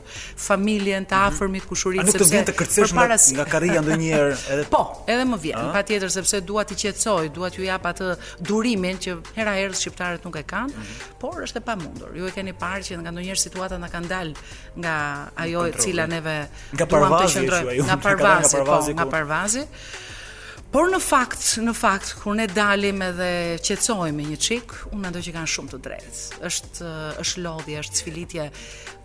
S14: familjen, të afërmit,
S9: A
S14: kushurinë,
S9: nuk të vjen të kërcesh nga,
S14: përpara se-
S9: nga karrija ndonjëherë edhe
S14: Po, edhe më vjen,
S9: A?
S14: patjetër sepse dua t'i qetësoj, dua t'ju jap atë durimin që hera herë shqiptarët nuk e kanë, por është e pamundur. Ju e keni parë që nga ndonjëherë situata na kanë dalë nga ajo e
S9: Kontrolli.
S14: cila neve
S9: Nga
S14: duam të
S9: parvazi e
S14: qëndrojmë,
S9: shua ju,
S14: nga
S9: na ka dalë nga
S14: parvazi, po,
S9: parvazi
S14: nga
S9: ku-
S14: parvazi. Por në fakt, në fakt kur ne dalim edhe qetësohemi një çik, unë mendoj që kanë shumë të drejtë. Është eh, është lodhje, është sfilitje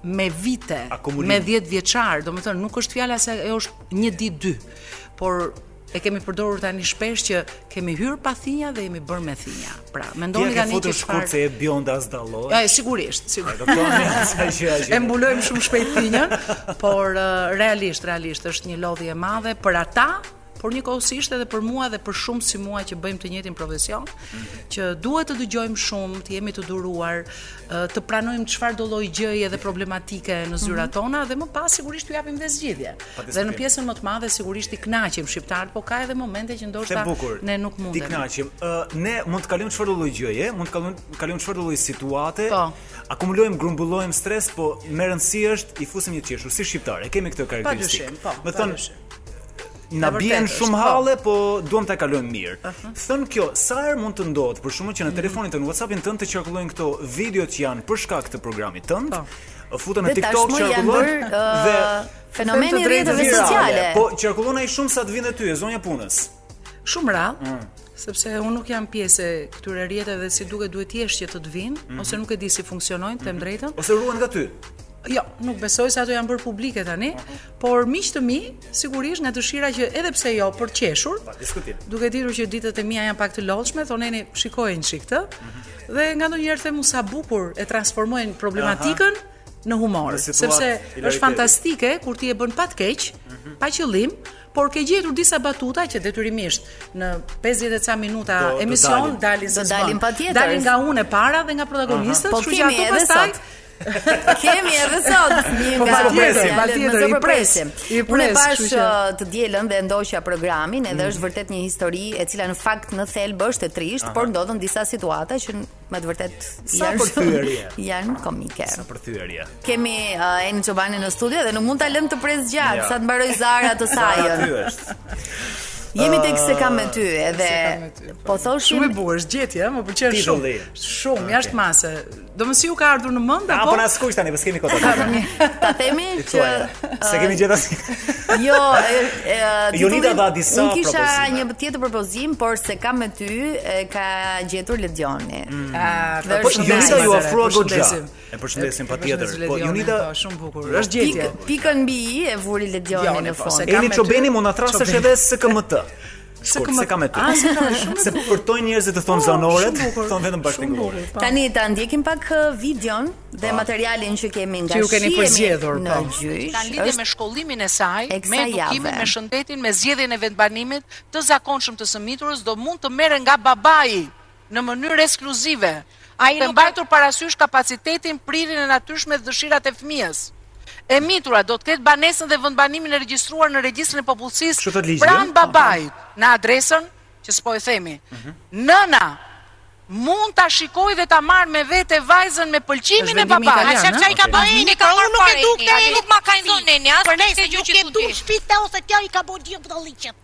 S14: me vite,
S9: Akumulim.
S14: me 10 vjeçar, domethënë nuk është fjala se ajo është një ditë dy, por e kemi përdorur tani shpesh që kemi hyr pa thinja dhe jemi bërë me thinja. Pra, mendoni
S9: Ti e ke
S14: tani
S9: futur
S14: që
S9: shkurt se e bjonda as dallohet.
S14: Ja, e, sigurisht, sigurisht.
S9: E kupton, ja, sa gjë, gjë.
S14: E mbulojmë shumë shpejt thinjën, por eh, realisht, realisht është një lodhje e madhe për ata, por njëkohësisht edhe për mua dhe për shumë si mua që bëjmë të njëjtin profesion, që duhet të dëgjojmë shumë, të jemi të duruar, eh, të pranojmë çfarë do lloj gjëje dhe problematike në zyrat
S16: Mhm.
S14: tona dhe më pas sigurisht ju japim dhe zgjidhje.
S9: Patjetër.
S14: Dhe në pjesën më të madhe sigurisht i kënaqim shqiptar, po ka edhe momente që
S9: Është
S14: ndoshta
S9: e bukur.
S14: ne nuk mundem.
S9: Ti kënaqim. Ë ne mund të kalojmë çfarë lloj gjëje, mund të kalojmë kalojmë çfarë lloj situate. Akumulojmë, grumbullojmë stres, po më rëndësi është i fusim një qeshur si shqiptar. E kemi këtë karakteristikë.
S14: Padyshim, po,
S9: Me thënë
S14: padyshim.
S9: Na
S14: E vërtet
S9: bien
S14: është,
S9: shumë
S14: po.
S9: halle, po duam ta kalojmë mirë. Thën kjo, sa herë mund të ndodhë për shkakun që në telefonin tënd, WhatsAppin tënd të qarkullojnë këto video që janë për shkak të programit tënd. Futën në
S8: Dhe
S9: TikTok
S8: tashmë janë
S9: qarkullojnë
S8: bërë, ë, fenomeni i rrjeteve sociale.
S9: Po qarkullon ai shumë sa të vinë ty, e zonja punës.
S14: Shumë rrallë,
S9: Mm.
S14: sepse unë nuk jam pjesë e këtyre rrjeteve dhe si duket duhet jesh që të të vinë,
S9: Mhm.
S14: ose nuk e di si funksionojnë, them drejtën.
S9: Ose ruan nga ty.
S14: Jo, nuk besoj se ato janë bërë publike tani, por miq të mi, sigurisht nga dëshira që edhe pse jo për qeshur,
S9: Pa diskutim.
S14: duke ditur që ditët e mia janë pak të lodhshme, thoneni shikojnë çik këtë, dhe nga ndonjëherë them u sa bukur e transformojnë problematikën në humor,
S9: Në situatë
S14: sepse
S9: hilaritetit.
S14: është fantastike kur ti e bën pa të keq, pa qëllim, por ke gjetur disa batuta që detyrimisht në 50 e ca minuta
S8: Do- do
S14: emision
S8: dalin.
S14: dalin se
S8: Do
S14: s'bën.
S8: dalin patjetër.
S14: Dalin nga unë e para dhe nga protagonistët,
S8: Po
S14: kështu që
S8: kemi
S14: ato
S8: edhe
S14: pastaj
S8: sot. Kemi edhe sot një
S14: Po,
S8: nga
S14: patjetër, patjetër,
S8: mos e
S14: i pres,
S8: përpresim.
S14: i pres,
S8: Unë e pash
S14: kështu që- Mm.
S8: uh, të dielën dhe ndoqja programin, edhe është vërtet një histori e cila në fakt në thelb është e trisht,
S9: Aha.
S8: por ndodhen disa situata që n- me të vërtet
S9: Sa
S8: janë
S9: përthyerje.
S8: janë komike.
S9: Sa përthyerje.
S8: Kemi uh, Eni Çobani në studio dhe nuk mund ta lëm të pres gjatë
S9: Ja.
S8: sa të mbaroj Zara të sajën.
S9: Aty është.
S8: Jemi tek se kam me ty
S14: Ë,
S8: edhe
S14: Ah. Se kam me ty,
S8: po thoshim
S14: Shumë e bukur është gjetje, ëh, më pëlqen shumë.
S9: Titulli.
S14: Shumë, jashtë mase. Domethënë si ju ka ardhur në mend
S9: A
S14: apo?
S9: po na skuq tani, po s'kemi kohë.
S8: ta themi që
S9: se kemi gjetur as
S8: Jo, e- e, titullin-
S9: Jonida dha disa
S8: Unë kisha
S9: propozime.
S8: një tjetër propozim, por se kam me ty e ka gjetur Ledioni. Mm.
S14: Ah,
S9: Po, Jonida ju ofrua goxha. E përshëndesim patjetër. Po Jonida
S14: shumë bukur.
S9: Është gjetje.
S8: Pikën mbi i e vuri Ledioni
S9: Joni,
S8: në
S9: po,
S8: fond.
S9: se kam Eni me ty- Çobeni mund na thrasësh edhe SKMT. Shkurt,
S8: SKMT.
S9: se kam me ty.
S8: Ah, se kam me shumë.
S9: Se përtojnë njerëzit të thonë
S8: Po,
S9: zanoret,
S8: shumë bukur.
S9: thonë vetëm bashkëngurë.
S8: Tani ta ndjekim pak uh, videon dhe materialin që kemi nga
S9: Që ju keni
S8: shihemi
S9: përzgjedhur,
S8: në
S9: po.
S8: gjyq.
S16: Kanë lidhje me
S14: shkollimin e saj,
S8: e
S16: me
S8: kësaj
S16: edukimin,
S8: jave.
S16: me shëndetin, me zgjedhjen e vendbanimit të zakonshëm të sëmiturës do mund të merren nga babai në mënyrë ekskluzive. Ai të mbajtur parasysh kapacitetin, prirjen e natyrshme dhe dëshirat e fëmijës. E mitura do të ketë banesën dhe vendbanimin e regjistruar në regjistrin e
S9: Kështu thot
S16: popullsisë
S9: ligji,
S16: pranë
S9: ëh?
S16: babait në adresën që s'po e themi. Nëna mund ta shikoj dhe ta marr me vete vajzën me pëlqimin e
S14: vendimi
S16: babait.
S14: italian,
S16: Asha
S14: ëh?
S16: çaj ka
S14: Okej.
S16: bërë Eni, ka marrë parë. Nuk e dukte, ai nuk ma ka
S17: Ai zonë neni, as për nëse gjë që tu di. Shtëpita ose tja i ka bërë gjë budalliqet.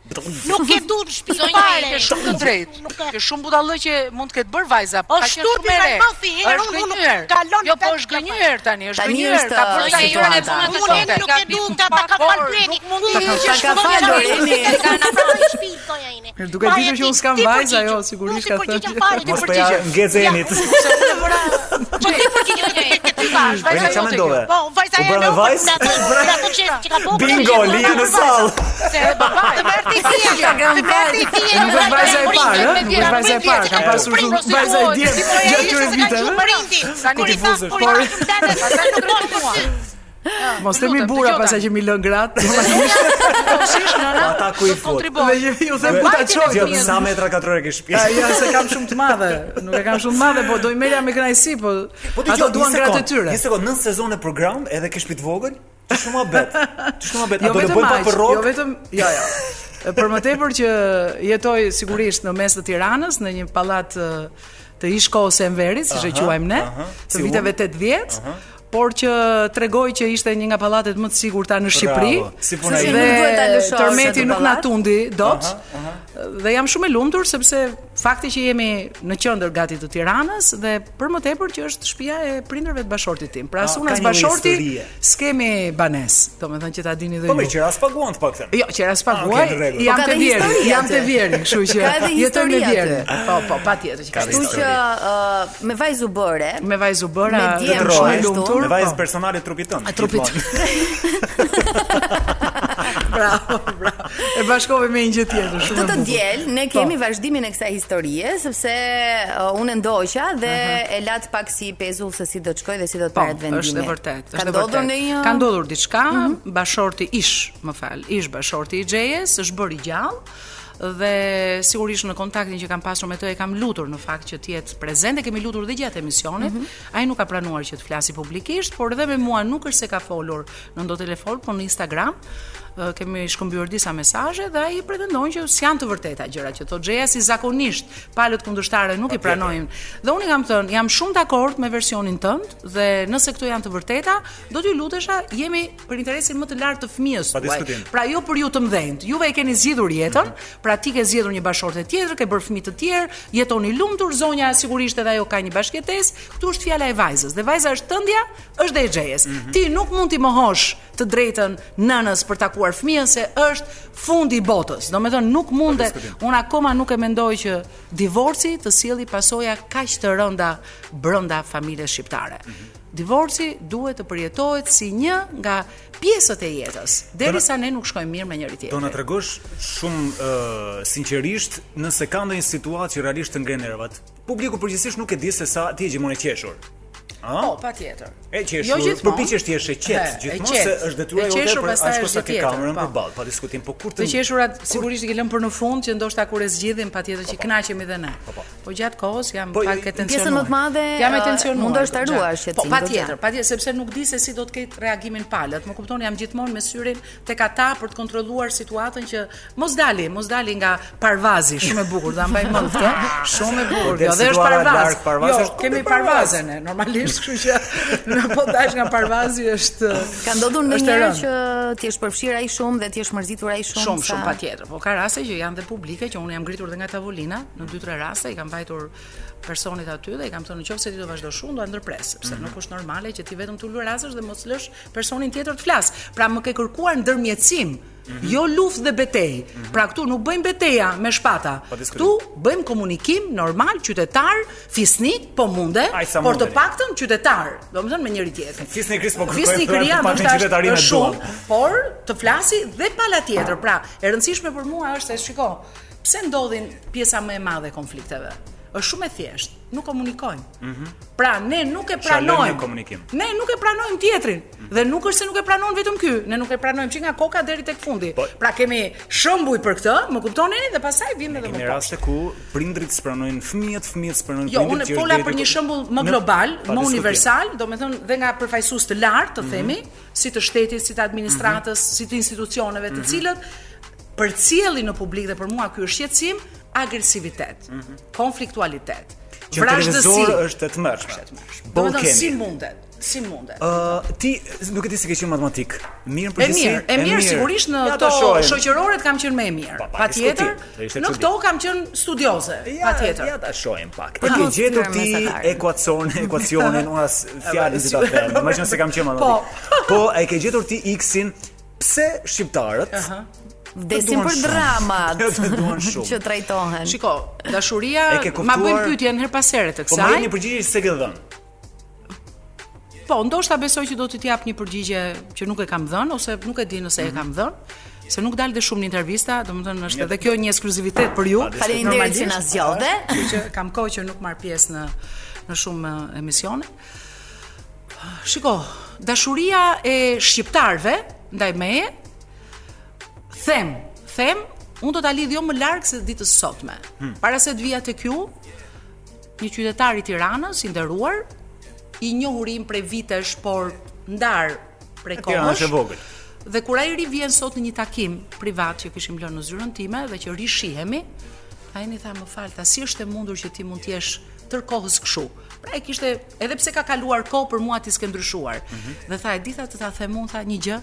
S17: Nuk e du në shtëpi
S16: Zonja
S17: fare.
S16: ke shumë të drejtë. Ke shumë budallë që mund të ketë bër vajza, po
S17: O,
S16: ka qenë
S17: shtupi
S16: shumë e re.
S17: nga masi, herë
S16: Është
S17: unë- unë
S16: gënjer.
S17: kalon
S16: Jo, po është gënjer tani, është
S17: Tani
S16: gënjer.
S17: është,
S16: Ka bërë
S17: zonja
S16: jurën e punës të
S17: situata. Unë
S16: sotë.
S17: nuk e du, ta- ta ka falë Breni.
S16: mund
S17: Unë
S16: të
S17: nuk
S16: ta
S17: e
S16: ka
S17: shkoj
S16: falë
S17: nga
S16: Breni.
S17: shtëpi, ka na prani shtëpi, zonja ine.
S14: Duke
S17: Fare
S14: ditur që
S17: ti-
S14: unë s'kam
S17: ti
S14: vajzë,
S17: përgjigje.
S14: ajo sigurisht ka thënë.
S17: përgjigje fare, ti
S9: Mos po ja ngecë Enit.
S17: Po ti përgjigje e ke ty bash,
S9: Brenda
S17: vajza
S9: çfarë
S17: jote
S9: mendove?
S17: kjo. Po, vajza
S9: U
S17: e
S9: bërë me
S17: lopët,
S9: vajzë?
S17: na thënë-
S9: Bra-
S17: na thënë që që ka bërë,
S9: Bingo,
S17: përgjigje,
S9: lije në
S17: vajza.
S9: sallë.
S16: Se babai, të merrti fija. Të merrti fija.
S14: Nuk është vajza e parë, ëh? Nuk është vajza e parë, kam pasur shumë vajza e djemt gjatë këtyre viteve.
S16: Tani
S14: Kur i tha, kur i tha, Mos themi bura pasaj që mi lën gratë.
S9: Ata ku i fut.
S14: Dhe ju- ju them ku ta çoj.
S9: Jo, sa metra katrore ke shtëpi?
S14: A ja se kam shumë të madhe, nuk e kam shumë të madhe, po do i merja me kënaqësi, po, ato duan gratë e tyre.
S9: Një sekond, nën sezon e program, edhe ke shtëpi të vogël, ti shumë abet. Ti shumë abet.
S14: Jo
S9: A do të
S14: vetëm
S9: bëjmë pa
S14: aq,
S9: për rrok?
S14: jo vetëm- jo, jo. Për më tepër që jetoj sigurisht në mes të Tiranës në një pallat ë, të ish kohës së Enverit, siç e
S9: Aha,
S14: quajmë ne,
S9: aha,
S14: të
S9: si
S14: viteve
S9: unë.
S14: 80
S9: Aha.
S14: por që tregoj që ishte një nga pallatet më të sigurta në Shqipëri.
S9: Bravo, si puna
S14: dhe
S9: ime. Nuk duhet ta
S8: lëshosh atë
S14: Tërmeti nuk na
S8: pallat.
S14: tundi dot.
S9: Aha, aha.
S14: Dhe jam shumë e lumtur sepse fakti që jemi në qendër gati të Tiranës dhe për më tepër që është shtëpia e prindërve të bashortit tim. Pra
S9: Ah,
S14: sunas
S9: ka një
S14: bashorti
S9: historie.
S14: s'kemi banes, domethënë që ta dini dhe
S9: Po me
S14: ju.
S9: qira s'paguan të paktën.
S14: Jo, qira s'paguaj, jam
S8: Po ka
S14: të
S8: dhe
S14: vjerë,
S8: histori
S14: jam
S8: aty.
S14: të vjerë, kështu që
S8: Ka
S14: jetoj
S8: dhe
S14: me
S8: histori
S14: vjerë.
S8: aty.
S14: Po, po, patjetër që ka
S8: Kështu që uh, me vajzu bëre.
S14: Me vajzu bëra,
S8: me
S9: Pra, Të
S8: djem shumë
S9: drohe,
S8: e lumtur.
S9: me vajzë personale trupit tënd.
S14: po. Trupit. bravo, bravo. E bashkove me një gjë tjetër
S8: Të
S14: shumë.
S8: të
S14: e bukur.
S8: djel, ne
S14: Po.
S8: kemi vazhdimin e kësaj historie sepse uh, unë e ndoqa dhe e lat pak si pezull se si do të shkoj dhe si do të
S14: Po,
S8: merret vendimi.
S14: është e vërtet, është
S8: Ka
S14: e
S8: ndodhur
S14: vërtet.
S8: ndonjë Mhm.
S14: Ka ndodhur diçka, bashorti ish, më fal, ish bashorti i Xhejes, është bërë i gjallë dhe sigurisht në kontaktin që kam pasur me të e kam lutur në fakt që të jetë prezente, kemi lutur dhe gjatë emisionit.
S8: Mhm.
S14: Ai nuk ka pranuar që të flasi publikisht, por dhe me mua nuk është se ka folur në ndo telefon, por në Instagram ë, kemi shkëmbyer disa mesazhe dhe ai pretendon që s'janë të vërteta gjërat që thotë Xheja si zakonisht palët kundërshtare nuk i pranojnë. Dhe unë i kam thënë, jam shumë dakord me versionin tënd dhe nëse këto janë të vërteta, do t'ju lutesha, jemi për interesin më të lartë të fëmijës
S9: Pa
S14: tuaj.
S9: diskutim.
S14: Pra jo për ju të mdhenjt. Juve e keni zgjidhur jetën, pra ti ke zgjidhur një bashortë tjetër, ke bërë fëmijë të tjerë, jetoni lumtur, zonja sigurisht edhe ajo ka një bashkëtesë. Ktu është fjala e vajzës. Dhe vajza është tëndja, është dhe e xhejes. Ti nuk mund t'i mohosh të drejtën nënës për takuar fëmijën se është fundi i botës. Domethënë nuk mundet. Unë akoma nuk e mendoj që divorci të sjelli pasoja kaq të rënda brenda familjes shqiptare.
S9: Mhm.
S14: Divorci duhet të përjetohet si një nga pjesët e jetës, derisa ne nuk shkojmë mirë me njëri
S9: Do na
S14: tjetrin.
S9: tregosh shumë ë, sinqerisht nëse ka ndonjë situatë që realisht të ngren nervat. Publiku përgjithsisht nuk e di se sa ti je gjithmonë e qeshur. A?
S14: Po, patjetër.
S9: E qeshur,
S14: Jo gjithmonë.
S9: përpiqesh të jesh e
S14: E,
S9: qetë
S14: e
S9: gjithmonë
S14: qetë.
S9: se është detyra
S14: E
S9: jote
S14: qeshur
S9: për
S14: pastaj
S9: ashtu
S14: është
S9: sa
S14: gjë
S9: ke
S14: tjetër,
S9: kamerën
S14: po.
S9: përballë, pa diskutim, po kur të
S14: Të qeshurat sigurisht i ke lënë për në fund që ndoshta kur e zgjidhim patjetër që knaqemi dhe ne. Po gjatë kohës jam pak e tensionuar.
S8: pjesën më të madhe,
S14: jam e
S8: ë,
S14: tensionuar.
S8: mundosh ta
S14: goxha.
S8: ruash qetësinë,
S14: Po patjetër,
S8: goxha.
S14: patjetër sepse nuk di se si do të ketë reagimin palët. Më kupton, jam gjithmonë me syrin tek ata për të kontrolluar situatën që mos dali, mos dali nga parvazi, shumë e bukur, dha mbaj mend këtë. Shumë e bukur.
S9: Del
S14: Jo, dhe është
S9: situara
S14: parvaz.
S9: larg, parvaz
S14: Jo,
S9: është
S14: kemi
S9: kundër parvaz.
S14: parvazen ne, normalisht, kështu që në po dash nga parvazi është
S8: Ka ndodhur
S14: është e
S8: ndonjë
S14: rëndë.
S8: që ti je shpërfshir ai shumë dhe ti je mërzitur ai shumë.
S14: Shumë, shumë patjetër. Po ka raste që janë dhe publike që unë jam ngritur dhe nga tavolina, në 2-3 raste i kam mbajtur personit aty dhe i kam thënë nëse ti do vazhdo shumë do ta ndërpres, sepse
S9: Mhm.
S14: nuk është normale që ti vetëm të lurasesh dhe mos lësh personin tjetër të flas. Pra më ke kërkuar ndërmjetësim,
S9: Mhm.
S14: jo luftë dhe betejë. Pra këtu nuk bëjmë beteja me shpata.
S9: Pa diskutim.
S14: Këtu bëjmë komunikim normal, qytetar, fisnik, po munde,
S9: Aj, sa
S14: por të
S9: mundeni.
S14: paktën qytetar, domethënë me njëri tjetrin.
S9: Fisnik Kris po kërkoj
S14: Fisnik
S9: thënë
S14: Ria
S9: për pak me
S14: ndoshta
S9: qytetarinë
S14: është
S9: e
S14: shumë,
S9: duan.
S14: por të flasi dhe pala tjetër. Pra, e rëndësishme për mua është se shiko, pse ndodhin pjesa më e madhe e konflikteve? Është shumë e thjeshtë, nuk komunikojnë.
S9: Mhm.
S14: Pra, ne nuk e
S9: Shalojmë në
S14: pranojmë.
S9: komunikim. Mhm.
S14: Ne nuk e pranojmë tjetrin. Dhe nuk është se nuk e pranon vetëm ky, ne nuk e pranojmë që nga koka deri tek fundi.
S9: Po.
S14: Pra kemi shembuj për këtë, më kuptoneni dhe pastaj vim edhe më
S9: Kemi
S14: poshtë.
S9: raste ku prindrit spranojnë fëmijët, fëmijët spranojnë
S14: Jo,
S9: prindrit.
S14: unë
S9: që është
S14: fola
S9: deri
S14: për
S9: te-
S14: një shembull më
S9: Në-
S14: global,
S9: pa
S14: më
S9: diskutim. Mhm.
S14: universal, domethënë dhe nga përfaqësues të lartë, të themi, si të shtetit, si të administratës, si të institucioneve, të
S9: Mhm.
S14: cilët përcjellin në publik dhe për mua ky është shqetësim, agresivitet, konfliktualitet,
S9: Mhm. Që në
S14: vrazhdësi.
S9: televizor është e tmerrshme. Bon
S14: Domethënë
S9: kemi.
S14: si mundet? Si mundet?
S9: Ë, ti nuk e di se ke qenë matematik. Mirë
S14: E
S9: për
S14: mirë, e mirë sigurisht në
S9: Ja, ta
S14: këto
S9: shohim.
S14: shoqërore kam qenë më e mirë.
S9: pa,
S14: Patjetër,
S9: diskutim, dhe ishte
S14: në
S9: çudi.
S14: këto kam qenë studioze, patjetër.
S9: Ja ta shohim pak.
S14: Ja,
S9: Për ke
S14: mos
S9: gjetur
S14: flirë
S9: ti
S14: mesatar.
S9: ekuacionin, ekuacionin, unë as fjalën si ta
S14: si-
S9: them. Imagjino se kam qenë matematik. Po, e ke gjetur ti x-in pse shqiptarët
S8: Vdesin
S9: Të duan
S8: për
S9: shumë.
S8: dramat.
S9: Të duan shumë.
S8: Që trajtohen.
S14: Shiko, dashuria
S9: E ke
S14: ma bën
S9: kuptuar?
S14: pyetjen her pas here të
S9: Po më
S14: kësaj.
S9: jeni përgjigje se ke dhënë.
S14: Po, ndoshta besoj që do t'i jap një përgjigje që nuk e kam dhënë ose nuk e di nëse e kam dhënë, se nuk dal dhe shumë në intervista, domethënë është edhe kjo një ekskluzivitet për ju.
S8: diskutim. Faleminderit që na
S14: Normalisht,
S8: zgjodhe.
S14: kështu që Kam kohë që nuk marr pjesë në në shumë eh, emisione. Shiko, dashuria e shqiptarëve ndaj meje them, them, unë do ta lidh jo më larg se ditës së sotme.
S9: Hmm.
S14: Para se të vija tek ju, një qytetar i Tiranës i nderuar, i njohurim prej vitesh, por ndar prej
S9: Tirana
S14: kohësh.
S9: është e vogël.
S14: Dhe kur ai rivjen sot në një takim privat që kishim lënë në zyrën time dhe që rishihemi, ai më tha më fal, ta si është e mundur që ti mund të jesh tërkohës kështu. Pra e kishte, edhe pse ka kaluar kohë për mua ti s'ke ndryshuar.
S9: Mhm.
S14: Dhe tha, e di tha të ta them unë tha një gjë.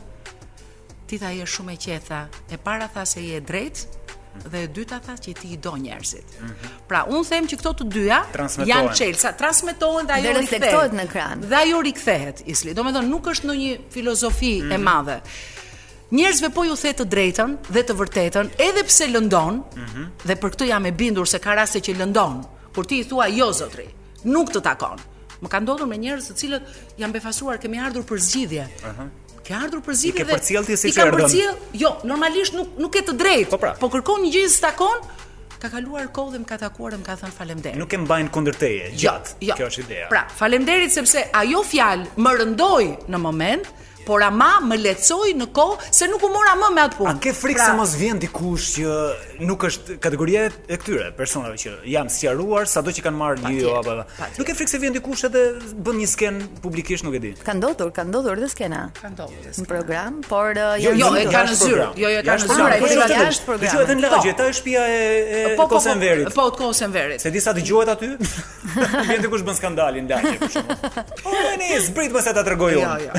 S14: Ti tha je shumë e qetha. E para tha se je e drejtë, dhe e dyta tha që ti i do njerëzit. Pra, unë them që këto të dyja
S9: Transmetohen.
S14: janë çelsa, transmetohen dhe ajo
S8: Dhe
S14: rikthehet.
S8: reflektohet në ekran.
S14: Dhe ajo rikthehet, Isli. Domethënë nuk është ndonjë filozofi e madhe. Njerëzve po ju the të drejtën dhe të vërtetën, edhe pse lëndon,
S9: Mhm.
S14: dhe për këtë jam e bindur se ka raste që lëndon. Kur ti i thua jo zotri, nuk të takon. Më ka ndodhur me njerëz të cilët janë befasuar, kemi ardhur për zgjidhje. Ke ardhur për
S9: I
S14: zgjidhje
S9: ke përcjell ti siç
S14: i ka
S9: erdhën.
S14: përcjell- jo, normalisht nuk nuk e të drejtë. Po,
S9: pra.
S14: kërkon një gjë që takon, ka kaluar kohë dhe më ka takuar dhe më ka thënë faleminderit.
S9: Nuk e mbajnë kundër teje gjatë.
S14: jo.
S9: Kjo është ideja.
S14: Pra, faleminderit sepse ajo fjalë më rëndoi në moment, por ama më lehtësoi në kohë se nuk u mora më me atë punë. Pra,
S9: Ke frikë se mos vjen dikush që nuk është kategoria e këtyre personave që janë sqaruar sado që kanë marrë një apo. Nuk ke frikë se vjen dikush edhe bën një sken publikisht, nuk e di.
S8: Ka ndodhur, ka ndodhur dhe skena. Ka
S14: ndodhur
S8: Në program, por uh,
S9: Jo, jo, e ka në zyrë.
S8: jashtë program.
S9: Jo, jo, e ka
S8: Jashtë
S9: në zyrë,
S8: program,
S9: e ka
S8: po,
S9: në zyrë.
S8: jashtë program.
S9: Dëgjohet në lagje,
S8: Po.
S9: ta është pia e, e
S14: Po, po, po,
S9: Kosen Verit.
S14: Po, të Kosen Verit.
S9: Se disa dëgjohet aty, vjen dikush bën skandalin lagje për shkak. Po, ne zbrit mos e ta tregoj
S14: Jo,
S9: unë.
S14: jo.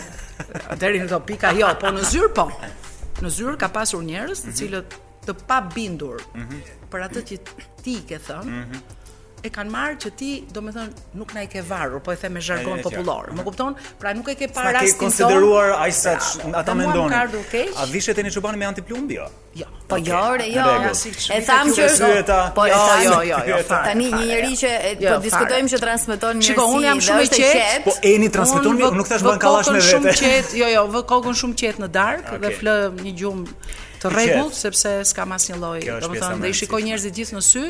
S14: Deri në këto pika jo, po në zyrë po. Në zyrë ka pasur njerëz
S9: Mhm.
S14: të cilët të pabindur për atë që ti i ke thënë,
S9: Mhm.
S14: e kanë marrë që ti, domethënë, nuk na i ke varur, po e them me
S9: E,
S14: zhargon
S9: e,
S14: popullor. Më kupton? Pra nuk e ke
S9: Pa
S14: parë
S9: ke
S14: rastin ton.
S9: konsideruar ai sa
S14: Bravo.
S9: që-
S14: Pra,
S9: ata
S14: Dhe mua më
S9: mendonin.
S14: ka ardhur keq.
S9: A vishet e një çobani me antiplumbi jo?
S14: Jo.
S8: Po jo, re, jo.
S9: Regull. jo,
S8: E tham që është Po
S14: Jo,
S8: e tham. Tani një
S14: njeri
S8: njerëz që e, po diskutojmë që transmeton mirësi.
S14: Shiko, unë jam
S8: dhe
S14: shumë e
S8: është
S14: qetë.
S9: Po, Eni transmeton
S14: Unë
S9: mirë,
S14: vë-
S9: nuk thash
S14: vë
S9: bën kallash me
S14: kokën Shumë
S9: vete. Ah,
S14: qetë, jo, jo, vë kokën shumë qetë në darkë dhe
S9: Okej.
S14: flë një gjumë të
S9: I
S14: rregullt
S9: qetë.
S14: sepse s'kam asnjë lloj,
S9: Kjo është pjesa
S14: domethënë,
S9: më
S14: dhe i shikoj njerëzit gjithë në sy